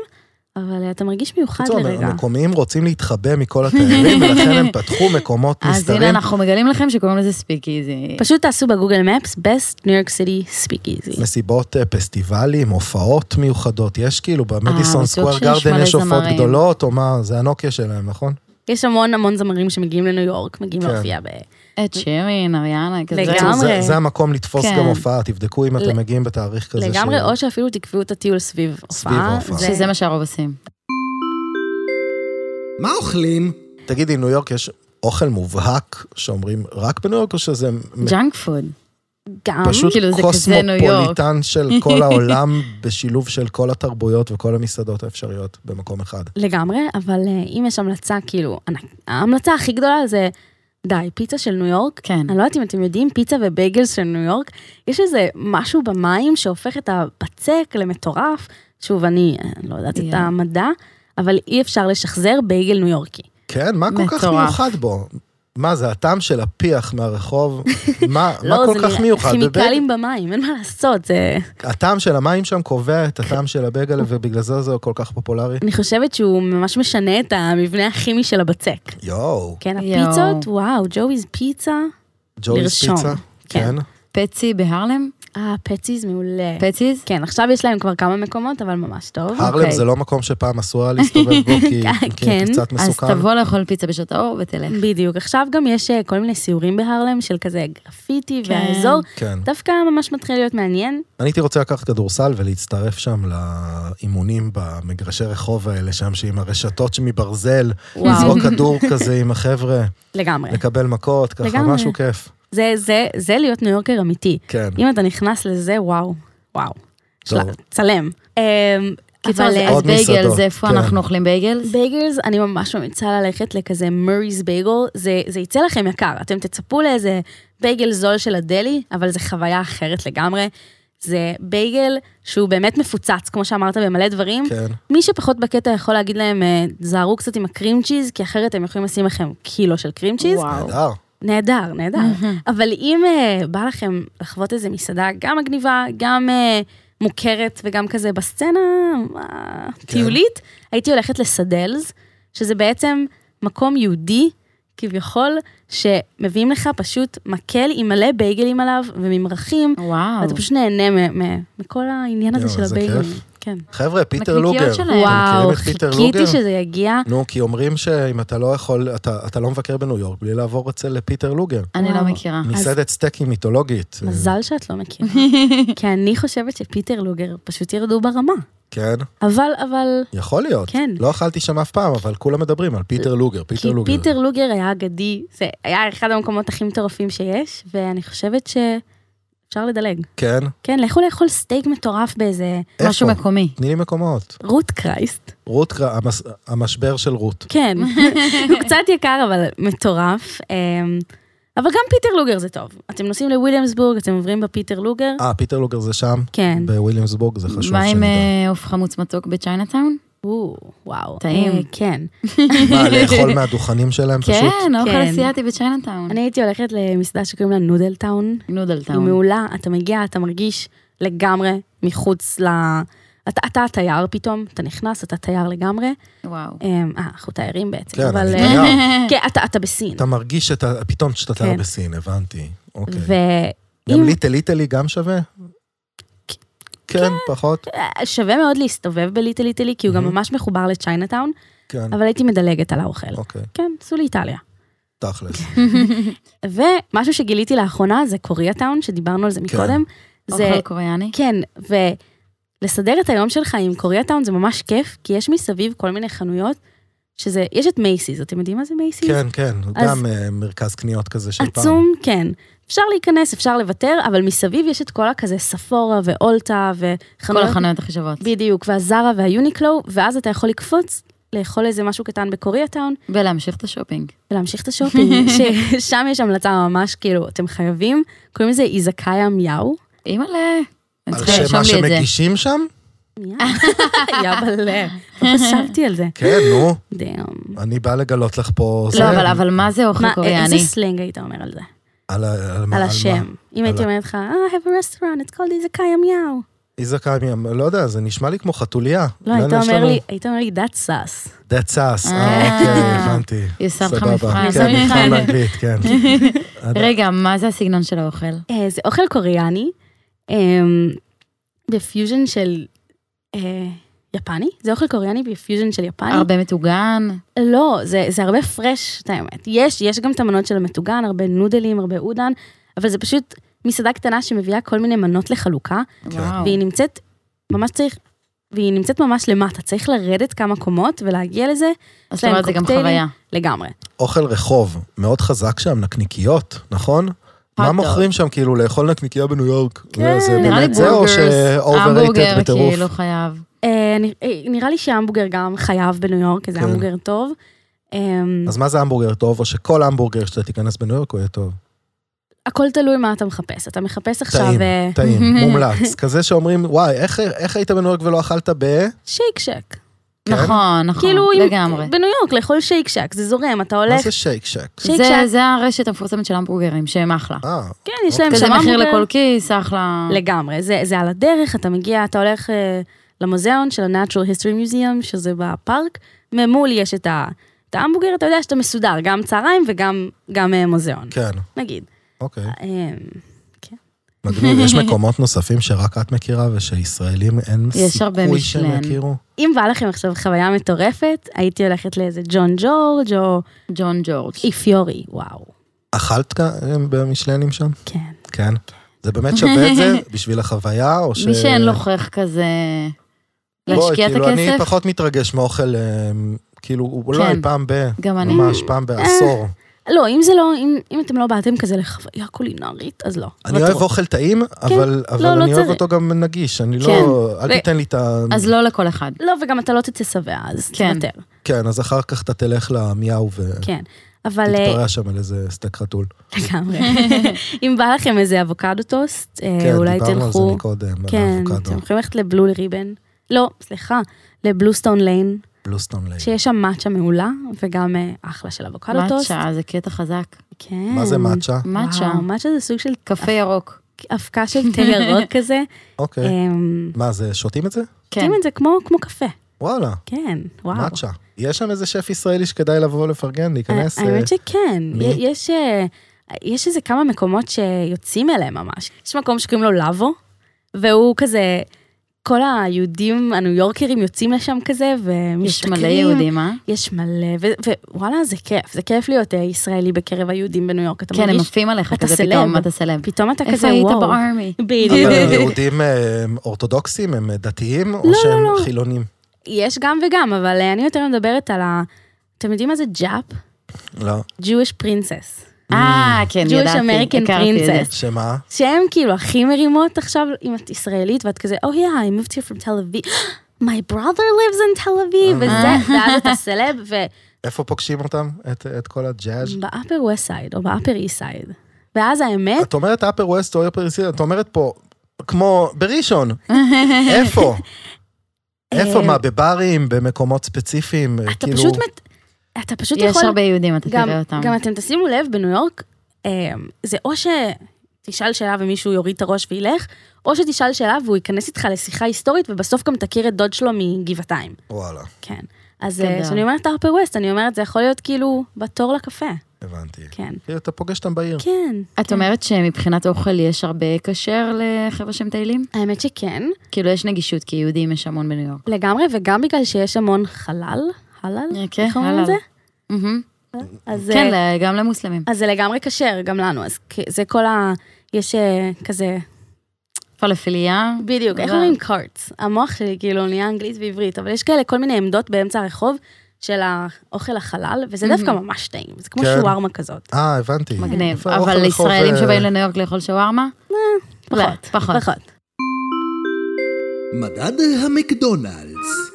S2: אבל אה, אתה מרגיש מיוחד
S1: בקיצור,
S2: לרגע.
S1: המקומיים רוצים להתחבא מכל התיירים, ולכן הם פתחו מקומות
S3: אז הנה,
S1: נסתרים.
S3: אנחנו מגלים לכם שקוראים לזה ספיק איזי.
S2: פשוט תעשו בגוגל מפס, best New York City speak easy.
S1: מסיבות אה, פסטיבלים, הופעות מיוחדות, יש כאילו במדיסון
S3: בטוח
S1: סקוואר
S3: אה, שיש
S1: גרדן
S3: מלא
S1: יש הופעות
S3: זמרים.
S1: גדולות, או מה, זה הנוקיה שלהם, נכון?
S2: יש המון המון זמרים שמגיעים לניו יורק, מגיעים
S1: כן.
S2: להופיע ב...
S3: את שירין, אריאנה, כזה.
S2: לגמרי.
S1: בקיצור, זה- זה המקום לתפוס
S3: כן.
S1: גם הופעה, תבדקו אם אתם
S2: ל-
S1: מגיעים בתאריך כזה.
S2: לגמרי,
S1: ש-
S2: או שאפילו תקבעו את הטיול סביב הופעה.
S1: ההופעה.
S2: זה-
S3: שזה מה שהרוב עושים.
S4: מה אוכלים?
S1: תגידי, ניו יורק יש אוכל מובהק שאומרים רק בניו יורק, או שזה מ-
S3: ג'אנק פוד.
S2: גם,
S1: פשוט
S3: כאילו, זה כזה ניו יורק.
S1: קוסמופוליטן של כל העולם, בשילוב של כל התרבויות וכל המסעדות האפשריות במקום אחד.
S2: לגמרי, אבל אה, אם יש המלצה, כאילו, ענק- ההמלצה הכי גדולה זה, די, פיצה של ניו יורק.
S3: כן.
S2: אני לא יודעת אם אתם יודעים, פיצה ובייגלס של ניו יורק, יש איזה משהו במים שהופך את הבצק למטורף. שוב, אני אה, לא יודעת את
S3: Yeah.
S2: המדע, אבל אי אפשר לשחזר בייגל ניו יורקי.
S1: כן, מה כל כך
S3: מטורף.
S1: מיוחד בו? מה זה, הטעם של הפיח מהרחוב? מה, מה
S2: לא,
S1: כל
S2: זה
S1: כך
S2: נראה-
S1: מיוחד?
S2: כימיקלים במים, אין מה לעשות, זה...
S1: בבייגל- הטעם של המים שם קובע את הטעם של הבגל, ובגלל זה זה כל כך פופולרי.
S2: אני חושבת שהוא ממש משנה את המבנה הכימי של הבצק.
S1: יואו,
S2: כן,
S3: יואו.
S2: הפיצות, וואו, ג'ויז פיצה.
S1: ג'ויס
S2: לרשום,
S1: פיצה. כן.
S2: כן.
S3: פצי בהרלם?
S2: אה, פציז מעולה.
S3: פציז?
S2: כן, עכשיו יש להם כבר כמה מקומות, אבל ממש טוב.
S1: הרלם
S3: אוקיי.
S1: זה לא מקום שפעם אסור היה להסתובב בו, כי כי
S2: כן,
S1: קצת
S3: אז
S1: מסוכן.
S3: תבוא לאכול פיצה בשעות האור ותלך.
S2: בדיוק. עכשיו גם יש אה, כל מיני סיורים בהרלם של כזה גרפיטי
S3: כן.
S2: והאזור.
S1: כן.
S2: דווקא ממש מתחיל להיות מעניין.
S1: אני הייתי רוצה לקחת כדורסל ולהצטרף שם לאימונים במגרשי רחוב האלה, שם שעם הרשתות שמברזל,
S2: וואו.
S1: לזרוק כדור כזה עם החבר'ה,
S2: לגמרי.
S1: לקבל מכות, ככה
S2: לגמרי.
S1: משהו כיף.
S2: זה, זה, זה להיות ניו יורקר אמיתי.
S1: כן.
S2: אם אתה נכנס לזה, וואו, וואו.
S1: טוב.
S2: של- צלם. אמ,
S3: קיצור,
S2: אבל
S3: אז
S2: אה,
S3: אז
S1: עוד מסעדות,
S3: בייגלס, איפה
S1: כן.
S3: אנחנו אוכלים בייגלס?
S2: בייגלס, אני ממש ממליצה ללכת לכזה מורי's בייגל, זה, זה יצא לכם יקר, אתם תצפו לאיזה בייגל זול של הדלי, אבל זו חוויה אחרת לגמרי. זה בייגל שהוא באמת מפוצץ, כמו שאמרת, במלא דברים.
S1: כן.
S2: מי שפחות בקטע יכול להגיד להם, אה, זהרו קצת עם הקרים צ'יז, כי אחרת הם יכולים לשים לכם קילו של קרים צ'יז.
S3: וואו.
S1: נהדר.
S2: נהדר, נהדר. אבל אם אה, בא לכם לחוות איזה מסעדה גם מגניבה, גם אה, מוכרת וגם כזה בסצנה
S1: כן.
S2: הטיולית, הייתי הולכת לסדלס, שזה בעצם מקום יהודי, כביכול, שמביאים לך פשוט מקל עם מלא בייגלים עליו וממרחים,
S3: וואו.
S2: ואתה פשוט נהנה מ- מ- מכל העניין הזה
S1: יואו,
S2: של
S1: איזה
S2: הבייגלים.
S1: כיף.
S2: כן.
S1: חבר'ה, פיטר
S3: נקניקיות
S1: לוגר.
S3: שלהם.
S1: אתם מכירים
S2: וואו,
S1: את פיטר
S2: חיכיתי
S1: לוגר? אה.
S2: שזה יגיע.
S1: נו, כי אומרים שאם אתה לא יכול, אתה אתה לא מבקר בניו יורק בלי לעבור אצל פיטר לוגר.
S3: אני
S2: וואו.
S3: לא מכירה.
S1: מסעדת סטייקים מיתולוגית.
S2: מזל שאת לא מכירה, כי אני חושבת שפיטר לוגר פשוט ירדו ברמה.
S1: כן,
S2: אבל, אבל,
S1: יכול להיות.
S2: כן.
S1: לא אכלתי שם אף פעם, אבל כולם מדברים על פיטר לוגר, פיטר
S2: כי
S1: לוגר.
S2: פיטר לוגר היה אגדי, זה היה אחד המקומות הכי מטורפים שיש, ואני חושבת שאפשר לדלג.
S1: כן,
S2: כן, לכו לאכול סטייק מטורף באיזה
S3: משהו
S1: איפה?
S3: מקומי.
S1: תני לי מקומות.
S2: רות קרייסט.
S1: רות, קרא- המס- המשבר של רות.
S2: כן, הוא קצת יקר, אבל מטורף. אמ, אבל גם פיטר לוגר זה טוב. אתם נוסעים לוויליאמסבורג, אתם עוברים בפיטר לוגר.
S1: אה, פיטר לוגר זה שם?
S2: כן.
S1: בוויליאמסבורג, זה חשוב
S3: מה עם
S1: שנדע.
S3: אה, עוף חמוץ מתוק בצ'יינאטאון?
S2: או, וואו.
S3: טעים.
S2: אה, כן.
S1: מה, לאכול מהדוכנים שלהם פשוט?
S3: כן,
S2: כן.
S3: אוכל אסיאתי בצ'יינאטאון.
S2: אני הייתי הולכת למסעדה שקוראים לה נודל טאון.
S3: נודל
S2: היא
S3: טאון.
S2: מעולה, אתה מגיע, אתה מרגיש לגמרי מחוץ ל... אתה, אתה התייר פתאום, אתה נכנס, אתה תייר לגמרי.
S3: וואו.
S2: אמ, אה, אנחנו תיירים בעצם,
S1: כן,
S2: אבל...
S1: אני
S2: אה,
S1: תייר.
S2: כן, אתה, אתה בסין.
S1: אתה מרגיש שאתה, פתאום שאתה תייר
S2: כן.
S1: בסין, הבנתי. אוקיי.
S2: ואם...
S1: גם ליטל איטלי גם שווה? כן, פחות?
S2: אה, שווה מאוד להסתובב בליטל איטלי, כי הוא גם
S1: מהמם.
S2: ממש מחובר לצ'יינאטאון,
S1: כן,
S2: אבל הייתי מדלגת על האוכל.
S1: אוקיי,
S2: כן, סעו לאיטליה.
S1: תכלס.
S2: ומשהו
S1: כן.
S2: שגיליתי לאחרונה כן, זה קוריאטאון, שדיברנו על זה מקודם. זה
S3: אוכל קוריאני?
S2: כן, לסדר כן, את היום שלך עם קוריאטאון זה ממש כיף, כי יש מסביב כל מיני חנויות, שזה, יש את מייסיס, אתם יודעים מה זה מייסיס?
S1: כן, כן,
S2: אז-
S1: גם אה, מרכז קניות כזה של פעם.
S2: עצום, כן. אפשר להיכנס, אפשר לוותר, אבל מסביב יש את כל הכזה ספורה ואולטה
S3: כל
S2: וחנויות
S3: החנויות הכי שוות.
S2: בדיוק, והזרה והיוניקלו, ואז אתה יכול לקפוץ, לאכול איזה משהו קטן בקוריאטאון,
S3: ולהמשיך את השופינג.
S2: ולהמשיך את השופינג, ששם יש המלצה ממש, כאילו, אתם חייבים, קוראים לזה איזקאיה מיהו.
S3: אימא'לה. אני
S1: על
S2: כן,
S3: צריכה
S1: שם
S3: לרשום
S1: מה
S3: לי את זה.
S1: שמגישים שם?
S2: מיהו? יאבלה, לא חשבתי על זה.
S1: כן, נו,
S2: דאם.
S1: אני בא לגלות לך פה...
S3: לא,
S1: זה,
S3: אבל- אבל מה זה אוכל
S2: מה, אה, איזה
S3: קוריאני?
S2: סלנג היית אומר על זה?
S1: על ה- על מה-
S2: על
S1: על מה?
S2: השם. אם הייתי
S1: על ה-
S2: אומרת לך, אה, I have a restaurant, it's called איזקאיה מיהו.
S1: איזקאיה, לא יודע, זה נשמע לי כמו חתוליה.
S2: לא,
S1: לנו
S2: היית
S1: יש
S2: אומר
S1: לנו-
S2: לי, היית אומר לי, that's us.
S1: That's us,
S3: אה.
S1: אה, אוקיי, הבנתי.
S3: היא עושה לך
S1: סבבה.
S3: מבחן.
S1: כן,
S3: עושה מבחן.
S1: מבחן באנגלית, כן. עד-
S3: רגע, מה זה הסגנון של האוכל?
S2: אה, זה אוכל קוריאני, אמ, בפיוז'ן של אה, יפני? זה אוכל קוריאני בפיוז'ן של יפני?
S3: הרבה מטוגן?
S1: כן.
S2: לא, זה, זה הרבה פרש, את האמת. יש, יש גם את המנות של המטוגן, הרבה נודלים, הרבה אודן, אבל זה פשוט מסעדה קטנה שמביאה כל מיני מנות לחלוקה,
S3: וואו.
S2: והיא נמצאת, ממש צריך, והיא נמצאת ממש למטה, צריך לרדת כמה קומות ולהגיע לזה
S3: אז זאת
S2: להם
S3: אומרת, זה גם
S2: קוקטיילים.
S3: חוויה.
S2: לגמרי.
S1: אוכל רחוב, מאוד חזק שם, נקניקיות, נכון? מה
S3: דוג.
S1: מוכרים שם, כאילו, לאכול נקניקייה בניו יורק? כן, זה
S3: נראה לי
S1: באמת זה, או
S3: בורגרס,
S1: ש-overrated
S3: המבורגר,
S1: בטירוף?
S3: כאילו חייב.
S2: אה, נ- אה, נראה לי שההמבורגר גם חייב בניו יורק, כי זה
S1: כן.
S2: המבורגר טוב. אמ,
S1: אז מה זה המבורגר טוב, או שכל המבורגר שאתה תיכנס בניו יורק הוא יהיה טוב?
S2: הכל תלוי מה אתה מחפש. אתה מחפש עכשיו
S1: טעים,
S2: אה,
S1: טעים, מומלץ. כזה שאומרים, וואי, איך- איך היית בניו יורק ולא אכלת ב...
S2: שייק שק.
S1: כן.
S3: נכון, נכון,
S2: כאילו, אם-
S3: לגמרי.
S2: בניו יורק, לאכול שייק שק, זה זורם, אתה
S1: מה
S2: הולך,
S1: זה שייק שק?
S2: שייק
S3: זה-
S2: שק.
S3: זה הרשת המפורסמת של המבורגרים, שהם אחלה.
S1: אה,
S2: כן, יש להם
S3: כזה
S2: שם
S3: מחיר
S2: המבורגר.
S3: לכל כיס, אחלה.
S2: לגמרי, זה זה על הדרך, אתה מגיע, אתה הולך אה, למוזיאון של ה-Natural History Museum, שזה בפארק, ממול יש את ה- את ההמבורגר, אתה יודע שאתה מסודר, גם צהריים וגם גם, אה, מוזיאון,
S1: כן,
S2: נגיד.
S1: אוקיי.
S2: אה,
S1: מגניב, יש מקומות נוספים שרק את מכירה ושישראלים אין
S3: יש הרבה
S1: סיכוי שהם
S3: מישלן.
S1: יכירו?
S2: אם בא לכם עכשיו חוויה מטורפת, הייתי הולכת לאיזה ג'ון ג'ורג' או
S3: ג'ון ג'ורג'.
S2: איפיורי, וואו,
S1: אכלת כ- במישלנים שם?
S2: כן.
S1: כן. זה באמת שווה את זה בשביל החוויה, או ש...
S3: מי שאין לו חך כזה,
S1: בואי,
S3: להשקיע את
S1: כאילו, אני
S3: הכסף,
S1: פחות מתרגש מאוכל, אה, כאילו, אולי פעם ב...
S3: גם אני.
S1: ממש פעם בעשור.
S2: כן. אה, לא, אם זה לא, אם, אם אתם לא באתם כזה לחוויה קולינרית, אז לא.
S1: אני אוהב אוכל טעים, אבל אבל
S2: לא, לא
S1: אני אוהב
S2: צריך.
S1: אותו גם נגיש, אני לא...
S2: כן.
S1: אל תיתן לי את ה...
S3: אז לא לכל אחד.
S2: לא, וגם אתה לא תצא שבע, אז
S3: כן.
S2: תוותר.
S1: כן, אז אחר כך אתה תלך למיהו
S2: כן. אבל אה,
S1: ותתפרע שם על איזה סטייק חתול.
S2: לגמרי. אם בא לכם איזה אבוקדו טוסט, אה,
S1: כן,
S2: אולי
S1: דיברנו על זה
S2: תלכו.
S1: מקודם, על
S2: כן,
S1: האבוקדו,
S2: אתם יכולים ללכת לבלו ריבן. לא, סליחה, לבלוסטון ליין,
S1: בלוסטון לייק.
S2: שיש שם מאצ'ה מעולה, וגם אה, אחלה של אבוקדו טוסט.
S3: מאצ'ה, זה קטע חזק.
S2: כן.
S1: מה זה מאצ'ה?
S3: מאצ'ה,
S2: וואו, מאצ'ה זה סוג של
S3: קפה ירוק.
S2: אבקה של תה ירוק כזה.
S1: אוקיי.
S2: אמ,
S1: מה זה, שותים את זה?
S3: כן.
S2: שותים את זה כמו כמו קפה.
S1: וואלה,
S2: כן, וואו.
S1: מאצ'ה. יש שם איזה שף ישראלי שכדאי לבוא לפרגן, להיכנס? אה,
S2: האמת שכן,
S1: מי?
S2: י- יש, אה, יש איזה כמה מקומות שיוצאים אליהם ממש. יש מקום שקוראים לו לאבו, והוא כזה, כל היהודים הניו יורקרים יוצאים לשם כזה,
S3: יש
S2: ומשתכרים.
S3: מלא יהודים, אה?
S2: יש מלא, ו- ווואלה, זה כיף, זה כיף להיות אה, ישראלי בקרב היהודים בניו יורק, אתה
S3: כן, הם
S2: מרגיש,
S3: עפים עליך
S2: אתה
S3: כזה
S2: סלב.
S3: פתאום, אתה סלב.
S2: פתאום אתה כזה,
S3: איפה היית
S2: וואו.
S3: בארמי?
S2: בדיוק.
S1: אבל יהודים אה, אורתודוקסים, הם דתיים, או
S2: לא, לא,
S1: שהם
S2: לא.
S1: חילונים?
S2: יש גם וגם, אבל אה, אני יותר מדברת על ה... אתם יודעים מה זה ג'אפ?
S1: לא.
S2: Jewish princess.
S3: אה, כן,
S2: Mm. Jewish
S3: ידעתי,
S2: American
S3: הכרתי את זה.
S2: Princess.
S1: שמה?
S2: שהן כאילו הכי מרימות עכשיו, אם את ישראלית ואת כזה, Oh yeah, I moved here from Tel Aviv. My brother lives in Tel
S3: אה.
S2: Aviv, וזה, ואז אתה סלב,
S1: איפה פוגשים אותם? את- את כל הג'אז?
S2: ובאפר ווסט סייד, או באפר אי סייד. ואז האמת,
S1: את אומרת אפר ווסט או אפר סיטי, את אומרת פה, כמו בראשון.
S2: אה.
S1: איפה? איפה? מה, בברים, במקומות ספציפיים?
S2: אתה
S1: כאילו-
S2: פשוט, מת- אתה פשוט
S3: יש
S2: יכול,
S3: הרבה יהודים, אתה
S2: גם-
S3: תראה אותם.
S2: גם אתם תשימו לב, בניו יורק, אה, זה או שתשאל שאלה ומישהו יוריד את הראש וילך, או שתשאל שאלה והוא ייכנס איתך לשיחה היסטורית, ובסוף גם תכיר את דוד שלו מגבעתיים.
S1: וואלה,
S2: כן. אז
S3: גדול.
S2: אה, כשאני אומרת אפר ווסט, אני אומרת, זה יכול להיות כאילו בתור לקפה.
S1: הבנתי.
S2: כן.
S1: כאילו, אתה פוגש אותם בעיר.
S2: כן.
S3: את אומרת שמבחינת אוכל יש הרבה כשר לחבר'ה שמטיילים?
S2: האמת שכן,
S3: כאילו, יש נגישות, כי יהודים יש המון בניו יורק.
S2: לגמרי, וגם בגלל שיש המון חלל, חלל,
S3: כן,
S2: איך אומרים
S3: חלל.
S2: את זה?
S3: מהמם.
S2: אז,
S3: כן,
S2: אה,
S3: ל- גם למוסלמים.
S2: אז זה לגמרי כשר, גם לנו, אז כ- זה כל ה... יש אה, כזה
S3: פלאפיליה.
S2: בדיוק, איך
S3: אבל-
S2: אומרים קארטס? המוח שלי כאילו נהיה אנגלית ועברית, אבל יש כאלה כל מיני עמדות באמצע הרחוב של האוכל החלל, וזה דווקא ממש טעים, זה כמו
S1: כן.
S2: שווארמה כזאת.
S1: אה, הבנתי.
S3: מגניב.
S1: איפה
S3: אבל
S1: אוכל רחוב,
S3: ישראלים
S1: אה,
S3: שבאים לניו יורק לאכול שווארמה? לא,
S2: אה, פחות,
S3: פחות.
S2: פחות.
S4: מדד המקדונלדס.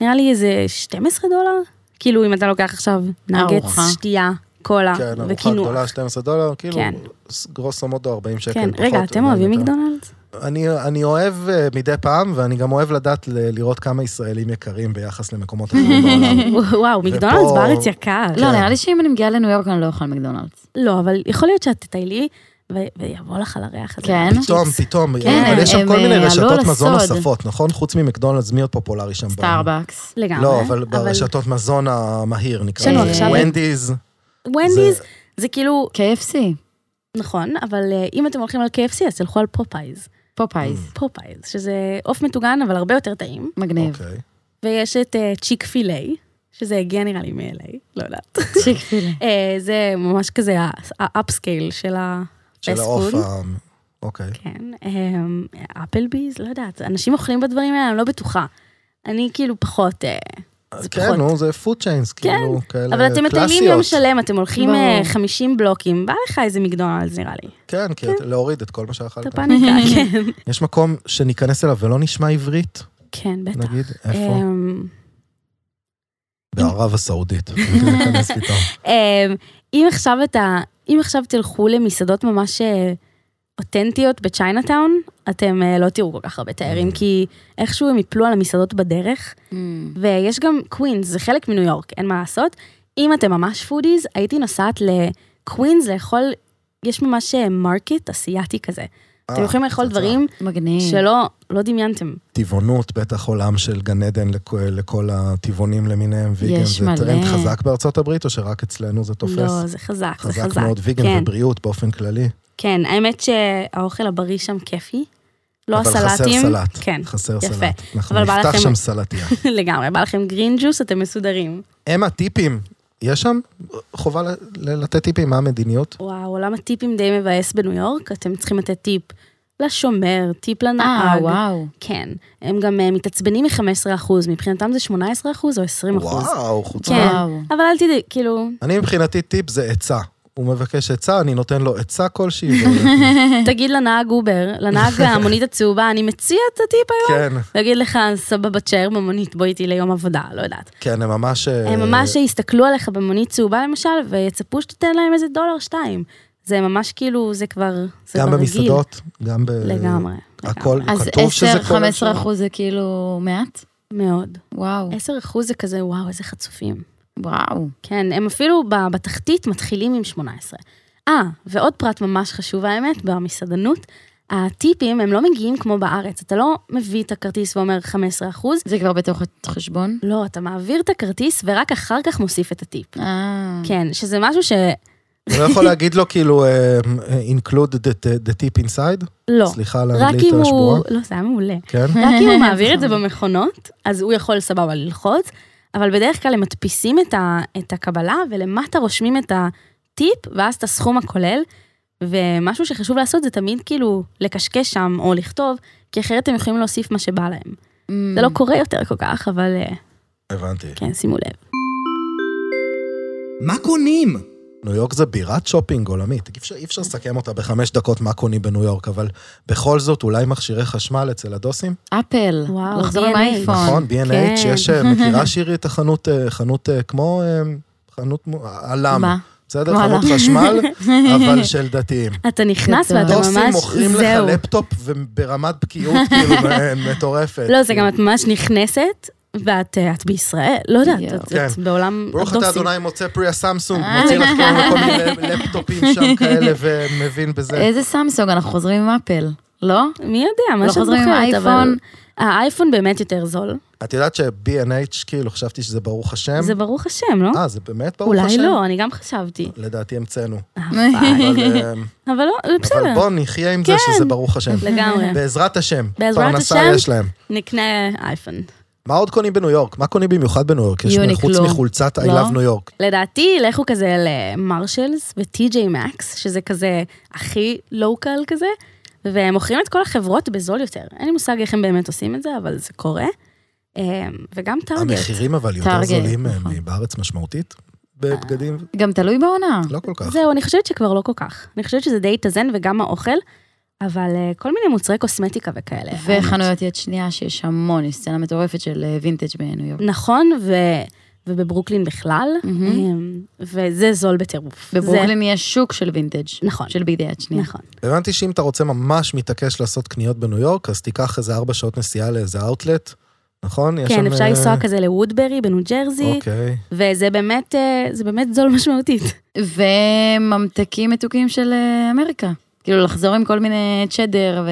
S2: נראה לי איזה 12 דולר? כאילו, אם אתה לוקח עכשיו
S3: ארוחה.
S2: נגץ, שתייה, קולה
S1: כן, ארוחה
S2: וקינוח.
S1: גדולה, 12 דולר, כאילו,
S2: כן.
S1: ס- גרוסו מודו 40 שקל.
S2: כן,
S1: פחות, לא
S2: רגע, אתם
S1: מה
S2: אוהבים
S1: יותר.
S2: מקדונלדס?
S1: אני, אני אוהב אה, מדי פעם, ואני גם אוהב לדעת ל- לראות כמה ישראלים יקרים ביחס למקומות אחרים בעולם. כן.
S2: וואו, מקדונלדס בארץ יקר.
S3: לא, נראה לי שאם אני מגיעה לניו יורק אני לא אוכל מקדונלדס.
S2: לא, אבל יכול להיות שאת תטיילי, ו- ויבוא לך על הריח הזה.
S3: כן.
S1: פתאום, פתאום,
S3: כן,
S1: אבל יש שם
S3: הם,
S1: כל מיני
S3: אה,
S1: רשתות
S2: לא
S3: עלו
S1: מזון
S3: לסוד.
S1: נוספות, נכון? חוץ ממקדונלדס, מי עוד פופולרי שם? בעולם?
S3: סטארבקס.
S2: לגמרי.
S1: לא, אבל ברשתות מזון המהיר,
S2: אה? יש
S1: נקרא
S2: לנו
S1: לזה.
S2: עכשיו-
S1: ונדיז.
S2: ונדיז
S1: זה-
S2: זה כאילו,
S3: KFC,
S2: נכון, אבל אה, אם אתם הולכים על KFC, אז תלכו על פופאיז.
S3: פופאיז,
S2: פופאיז, שזה עוף מטוגן, אבל הרבה יותר טעים.
S3: מגניב.
S1: אוקיי.
S2: ויש את אה, צ'יק פילי, שזה הגיע נראה לי מ-LA, לא יודעת.
S1: אוקיי.
S3: צ'יק פילה.
S2: אה, זה ממש כזה האפסקייל של ה...
S1: של
S2: fast
S1: העוף
S2: food.
S1: ה... אוקיי.
S2: כן, אמ, אפלביז, לא יודעת, אנשים אוכלים בדברים האלה, אני לא בטוחה. אני כאילו פחות, אה, זה
S1: כן,
S2: פחות.
S1: נו, זה פוד צ'יינס, כאילו, כאלה
S2: אבל אתם מטיילים יום
S1: קלאסיות.
S2: שלם, אתם הולכים
S3: ברור.
S2: אה, 50 בלוקים, בא לך איזה מקדונלדס נראה לי.
S1: כן, כי להוריד את כל מה שאכלת.
S2: אתה פאניקה, כן.
S1: יש מקום שניכנס אליו ולא נשמע עברית,
S2: כן, בטח.
S1: נגיד? איפה?
S2: אמ,
S1: בערב הסעודית. ניכנס פתאום.
S2: אמ, אם עכשיו אתה, אם עכשיו תלכו למסעדות ממש אה, אותנטיות בצ'יינאטאון, אתם אה, לא תראו כל כך הרבה תיירים, כי איכשהו הם יפלו על המסעדות בדרך,
S3: Mm.
S2: ויש גם קווינס, זה חלק מניו יורק, אין מה לעשות. אם אתם ממש פודיז, הייתי נוסעת לקווינס לאכול, יש ממש אה, מרקט אסיאתי כזה. אתם
S1: אה,
S2: יכולים לאכול
S1: פצצה.
S2: דברים
S1: Mm.
S3: מגניב.
S2: שלא לא דמיינתם.
S1: טבעונות, בטח עולם של גן עדן לכ- לכל הטבעונים למיניהם, ויגן,
S3: יש
S1: זה
S3: מלא.
S1: טרנד חזק בארצות הברית, או שרק אצלנו זה תופס?
S2: לא, זה חזק, זה חזק.
S1: חזק מאוד, ויגן
S2: כן.
S1: ובריאות באופן כללי.
S2: כן, האמת שהאוכל הבריא שם כיפי. לא
S1: אבל
S2: הסלטים.
S1: חסר סלט.
S2: כן,
S1: חסר
S2: יפה.
S1: סלט. אנחנו
S2: אבל בא
S1: נפתח
S2: לכם-
S1: שם סלטיה.
S2: לגמרי. בא לכם גרין ג'וס, אתם מסודרים.
S1: אמה, טיפים. יש שם חובה ל- ל- לתת טיפים, מה המדיניות?
S2: וואו, עולם הטיפים די מבאס בניו יורק, אתם צריכים לתת טיפ לשומר, טיפ
S3: אה,
S2: לנהג.
S3: וואו.
S2: כן, הם גם אה, מתעצבנים מ-15%, מבחינתם זה 18% או 20%.
S1: וואו, חוצפה.
S2: כן,
S3: וואו.
S2: אבל אל תדאג, כאילו,
S1: אני מבחינתי טיפ זה עצה. הוא מבקש עצה, אני נותן לו עצה כלשהי. ו-
S2: תגיד לנהג אובר, לנהג המונית הצהובה, אני מציע את הטיפ היום.
S1: כן,
S2: הוא יגיד לך, סבבה, תשאר במונית, בוא איתי ליום עבודה, לא יודעת.
S1: כן, הם ממש... אה,
S2: הם ממש יסתכלו עליך במונית צהובה למשל, ויצפו שתיתן להם איזה דולר שתיים. זה ממש כאילו, זה כבר, זה
S1: גם
S2: כבר רגיל.
S1: במסעדות, גם ב...
S2: לגמרי.
S1: הכל-
S2: לגמרי.
S3: אז
S1: כתוב שזה
S3: 10-15
S1: כל השאר.
S3: אחוז זה כאילו מעט?
S2: מאוד.
S3: וואו.
S2: 10 אחוז זה כזה, וואו, איזה חצופים.
S3: וואו.
S2: כן, הם אפילו ב- בתחתית מתחילים עם 18. אה, ועוד פרט ממש חשוב האמת, במסעדנות, הטיפים הם לא מגיעים כמו בארץ. אתה לא מביא את הכרטיס ואומר 15 אחוז,
S3: זה כבר בתוך החשבון?
S2: לא, אתה מעביר את הכרטיס ורק אחר כך מוסיף את הטיפ.
S3: אה.
S1: Mm.
S2: כן, שזה משהו ש...
S1: הוא לא יכול להגיד לו כאילו, אה, include the, the tip inside?
S2: לא.
S1: סליחה על
S2: רק
S1: האנגלית
S2: אם
S1: השבועה.
S2: הוא... לא, זה היה מעולה.
S1: כן?
S2: רק אם הוא מעביר את זה במכונות, אז הוא יכול סבבה ללחוץ, אבל בדרך כלל הם מדפיסים את, ה, את הקבלה, ולמטה רושמים את הטיפ, ואז את הסכום הכולל. ומשהו שחשוב לעשות זה תמיד כאילו לקשקש שם או לכתוב, כי אחרת הם יכולים להוסיף מה שבא להם.
S3: Mm.
S2: זה
S1: Mm.
S2: לא קורה יותר כל כך, אבל אה,
S1: הבנתי.
S2: כן, שימו לב. כן.
S4: מה קונים?
S1: ניו יורק זה בירת שופינג עולמית. אי אפשר, אי אפשר לסכם אותה בחמש דקות מה קונים בניו יורק, אבל בכל זאת אולי מכשירי חשמל אצל הדוסים.
S3: אפל.
S2: וואו,
S3: לחזור
S2: DNA.
S3: עם אייפון.
S1: נכון, B&H,
S2: כן.
S1: יש, אה, מכירה שירי את החנות, אה, חנות אה, כמו, אה, חנות מו- עלם.
S3: מה?
S1: בסדר,
S3: כמו
S1: חנות
S3: עלם.
S1: חשמל, אבל של דתיים.
S2: אתה נכנס
S3: גדול.
S2: ואתה
S1: דוסים
S2: ממש,
S1: מוכרים לך
S2: זהו.
S1: לפטופ וברמת בקיאות כאילו מ- מטורפת.
S2: לא, זה גם את ממש נכנסת, ואת אה, את בישראל, לא יודעת,
S3: יואו.
S2: את-
S1: כן.
S2: את בעולם
S1: ברוך אתה
S2: הדוסים.
S1: אדוני מוצא פרי הסמסונג,
S2: אה.
S1: מוציא לך כל מיני לפטופים שם כאלה ומבין בזה.
S3: איזה סמסונג, אנחנו חוזרים עם אפל. לא?
S2: מי יודע, מה
S3: לא
S2: שאת
S3: חוזרים עם
S2: בוחרת, אבל...
S3: אייפון.
S2: האייפון באמת יותר זול,
S1: את יודעת ש-B&H, כאילו, חשבתי שזה ברוך השם.
S2: זה ברוך השם, לא?
S1: אה, זה באמת ברוך
S2: אולי
S1: השם?
S2: לא, אני גם חשבתי.
S1: לדעתי המצאנו.
S2: אבל
S1: אבל אה,
S2: לא,
S1: אבל
S2: בסדר, כן.
S1: בוא נחיה עם זה שזה ברוך השם.
S2: לגמרי.
S1: בעזרת השם.
S2: בעזרת
S1: פרנסה
S2: השם.
S1: יש להם.
S2: נקנה אייפון.
S1: מה עוד קונים בניו יורק? מה קונים במיוחד בניו יורק? יש
S3: יוניקלו.
S1: חוץ מחולצת I
S3: לא?
S1: love ניו יורק.
S2: לדעתי, לכו כזה למרשלס וטי.ג'יי מקס, שזה כזה הכי לוקל כזה, ומוכרים את כל החברות בזול יותר. אין לי מושג איך הם באמת עושים את זה, אבל זה קורה. אה, וגם טארגט.
S1: המחירים אבל יותר
S3: טארגט,
S1: זולים אה,
S3: נכון.
S1: מבארץ משמעותית בבגדים,
S3: גם תלוי בעונה.
S1: לא כל כך.
S2: זהו, אני חושבת שכבר לא כל כך. אני חושבת שזה די התאזן וגם האוכל, אבל אה, כל מיני מוצרי קוסמטיקה וכאלה.
S3: וחנויות יד שנייה, שיש המון, יש סצנה מטורפת של אה, וינטג' בניו יורק.
S2: נכון, ו... ובברוקלין בכלל,
S3: מהמם.
S2: אה, וזה זול בטירוף. זה-
S3: בברוקלין יש שוק של וינטג'.
S2: נכון.
S3: של בידי יד שנייה.
S2: נכון.
S1: הבנתי שאם אתה רוצה ממש מתעקש לעשות קניות בניו יורק, אז תיקח איזה ארבע שעות נסיעה לאיזה אאוטלט, נכון? יש
S2: כן,
S1: שם,
S2: אפשר
S1: אה,
S2: לנסוע כזה לוודברי בניו ג'רזי,
S1: אוקיי.
S2: וזה באמת, אה, זה באמת זול משמעותית.
S3: וממתקים מתוקים של אה, אמריקה. כאילו לחזור עם כל מיני צ'דר ו...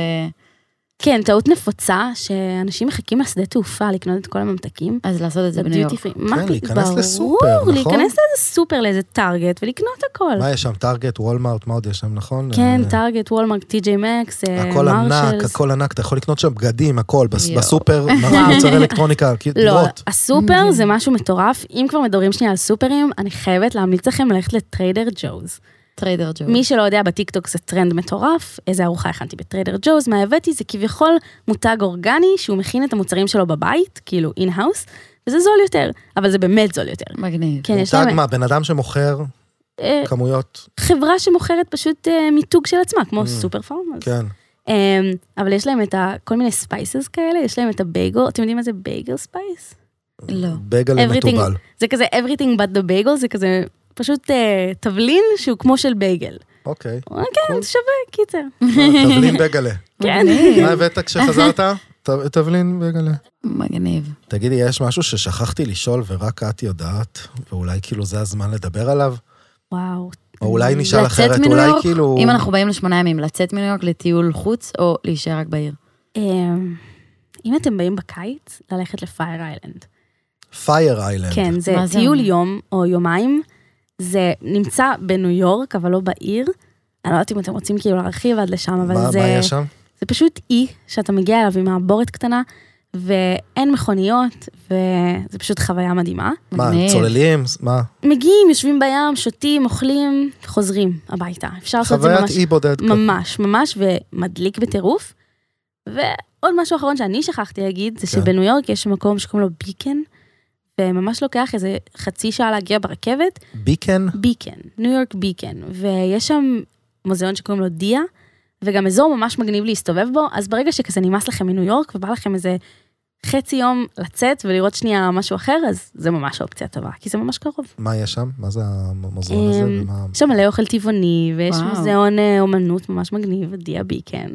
S2: כן, טעות נפוצה, שאנשים מחכים לשדה תעופה לקנות את כל הממתקים.
S3: אז לעשות את זה בניו
S2: לדיוטי
S3: יורק.
S2: פרי. מה פתאום?
S1: כן, להיכנס
S2: ברור,
S1: לסופר, נכון?
S2: להיכנס לאיזה סופר, לאיזה טארגט, ולקנות הכל.
S1: מה יש שם? טארגט, וולמארט, מה עוד יש שם, נכון?
S2: כן,
S1: אה,
S2: טארגט, וולמרק, טי.ג'יי מקס, אה,
S1: הכל ענק,
S2: מרשלס.
S1: הכל ענק, אתה יכול לקנות שם בגדים, הכל, בס-
S3: יואו.
S1: בסופר, מוצרי אלקטרוניקה, כאילו,
S2: לא,
S1: דירות.
S2: הסופר זה משהו מטורף. אם כבר מדברים שנייה על סופרים, אני חייבת להמליץ לכם ללכת לטריידר ג'וז.
S3: טריידר ג'ו.
S2: מי שלא יודע, בטיקטוק זה טרנד מטורף. איזה ארוחה הכנתי בטריידר ג'וז, מה הבאתי? זה כביכול מותג אורגני שהוא מכין את המוצרים שלו בבית, כאילו אין-האוס, וזה זול יותר, אבל זה באמת זול יותר.
S3: מגניב.
S2: כן, יש
S1: מותג
S2: להם
S1: מה, בן אדם שמוכר
S2: אה,
S1: כמויות,
S2: חברה שמוכרת פשוט אה, מיתוג של עצמה, כמו סופר פארם. אז-
S1: כן.
S2: אמ, אבל יש להם את ה- כל מיני ספייסס כאלה, יש להם את הבייגל, אתם יודעים מה זה בייגל ספייס?
S1: כן.
S3: לא.
S1: בגל
S2: Everything-
S1: מתובל.
S2: זה כזה everything but the bagel, זה כזה פשוט אה, תבלין שהוא כמו של בייגל.
S1: אוקיי.
S2: אה, כן, זה שווה, קיצר.
S1: תבלין בגלה.
S2: כן.
S1: מה הבאת כשחזרת? ת- תבלין בגלה.
S3: מגניב.
S1: תגידי, יש משהו ששכחתי לשאול ורק את יודעת, ואולי כאילו זה הזמן לדבר עליו?
S2: וואו.
S1: או אולי נשאל
S3: לצאת
S1: אחרת,
S3: מניו
S1: אולי
S3: יורק,
S1: כאילו...
S3: אם אנחנו באים לשמונה ימים, לצאת מניו יורק לטיול חוץ או להישאר רק בעיר?
S2: אמ, אם אתם באים בקיץ, ללכת לפייר איילנד.
S1: פייר איילנד.
S2: כן, זה
S3: מה זה
S2: טיול
S3: אומר?
S2: יום או יומיים. זה נמצא בניו יורק, אבל לא בעיר. אני לא יודעת אם אתם רוצים כאילו להרחיב עד לשם, אבל
S1: מה
S2: זה...
S1: מה יש שם?
S2: זה פשוט אי שאתה מגיע אליו עם מעבורת קטנה, ואין מכוניות, וזה פשוט חוויה מדהימה.
S1: מה,
S3: מגניב.
S1: צוללים? מה?
S2: מגיעים, יושבים בים, שותים, אוכלים, חוזרים הביתה. אפשר לעשות את זה
S1: חוויית
S2: ממש,
S1: אי בודד. כזה.
S2: ממש, ממש, ומדליק בטירוף. ועוד משהו אחרון שאני שכחתי להגיד,
S1: כן.
S2: זה שבניו יורק יש מקום שקוראים לו ביקן, וממש לוקח איזה חצי שעה להגיע ברכבת,
S1: ביקן?
S2: ביקן, ניו יורק ביקן, ויש שם מוזיאון שקוראים לו דיה, וגם אזור ממש מגניב להסתובב בו, אז ברגע שכזה נמאס לכם מניו יורק ובא לכם איזה חצי יום לצאת ולראות שנייה משהו אחר, אז זה ממש אופציה טובה, כי זה ממש קרוב.
S1: מה יש שם? מה זה המוזיאון הזה?
S2: אמ,
S1: ומה-
S2: יש שם מלא אוכל טבעוני, ויש
S3: וואו.
S2: מוזיאון אה, אומנות ממש מגניב, דיה ביקן,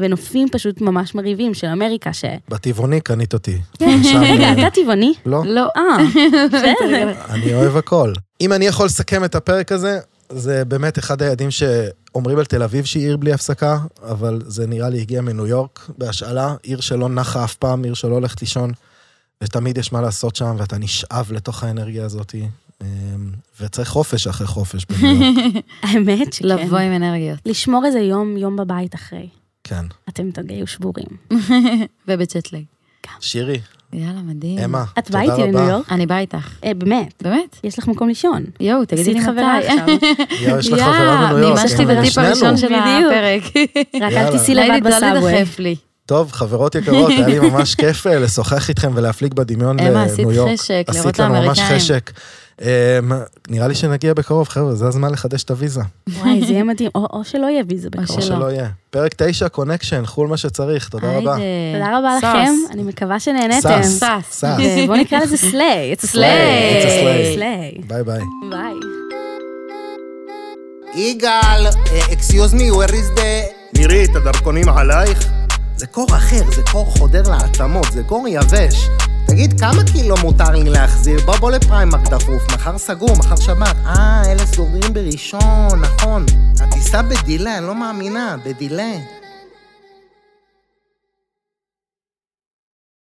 S2: ונופים פשוט ממש מרהיבים של אמריקה, ש...
S1: בטבעוני קנית אותי. שם,
S2: רגע,
S1: אה,
S2: כן. אתה טבעוני?
S1: לא,
S3: לא.
S2: אה, בסדר.
S1: אני אוהב הכל. אם אני יכול לסכם את הפרק הזה, זה באמת אחד היעדים שאומרים על תל אביב שהיא עיר בלי הפסקה, אבל זה נראה לי הגיע מניו יורק, בהשאלה, עיר שלא נחה אף פעם, עיר שלא הולכת לישון, ותמיד יש מה לעשות שם, ואתה נשאב לתוך האנרגיה הזאת, אמ, וצריך חופש אחרי חופש בניו יורק.
S2: האמת שכן.
S3: לבוא עם אנרגיות.
S2: לשמור איזה יום, יום בבית אחרי.
S1: כן.
S2: אתם תגיעו שבורים.
S3: ובצ'טלג.
S1: שירי,
S3: יאללה, מדהים.
S1: אמה,
S2: את
S1: תודה
S2: באה איתי
S1: רבה.
S2: לניו יורק?
S3: אני באה איתך.
S2: אה, באמת,
S3: באמת?
S2: יש לך מקום לישון.
S3: יואו, תגידי לי
S2: עשית
S3: מתי.
S2: חברה עכשיו.
S1: יואו, יש לך חברה בניו יורק.
S3: מימשתי
S1: הנה,
S3: בטיפ
S1: שנינו.
S3: הראשון של
S2: בדיוק.
S3: הפרק.
S2: רק
S1: יאללה.
S2: אל תיסעי
S3: אולי
S2: לבד
S3: תדע
S2: בסאבווי.
S3: לדחף לי.
S1: טוב, חברות יקרות, היה לי ממש כיף אה, לשוחח איתכם ולהפליג בדמיון
S3: אמה,
S1: לניו
S3: עשית
S1: יורק.
S3: חשק, לראות
S1: עשית לנו ממש
S3: לאמריקאים.
S1: חשק. אמ, נראה לי שנגיע בקרוב, חבר'ה, זה הזמן לחדש את הוויזה.
S2: וואי, זה יהיה מדהים. או או שלא יהיה ויזה בקרוב.
S1: או שלא יהיה. פרק 9, קונקשן, חול מה שצריך, תודה רבה.
S3: היידה.
S2: תודה רבה
S3: סוס.
S2: לכם, אני מקווה שנהניתם.
S1: סאס.
S3: סאס.
S1: סאס.
S2: בואו נקרא לזה סליי. It's
S1: Slay.
S2: a
S1: It's a slay.
S2: slay. סליי.
S1: ביי ביי.
S2: ביי.
S4: יגאל, אקסיוז מי, where is the... מירי, את הדרכונים עלייך? זה קור אחר, זה קור חודר לעצמות, זה קור יבש. תגיד, כמה קילו מותר לי להחזיר? בוא בוא לפריימרק דחוף, מחר סגור, מחר שבת. אה, אלה סוגרים בראשון, נכון. הטיסה בדילה, אני לא מאמינה, בדילה.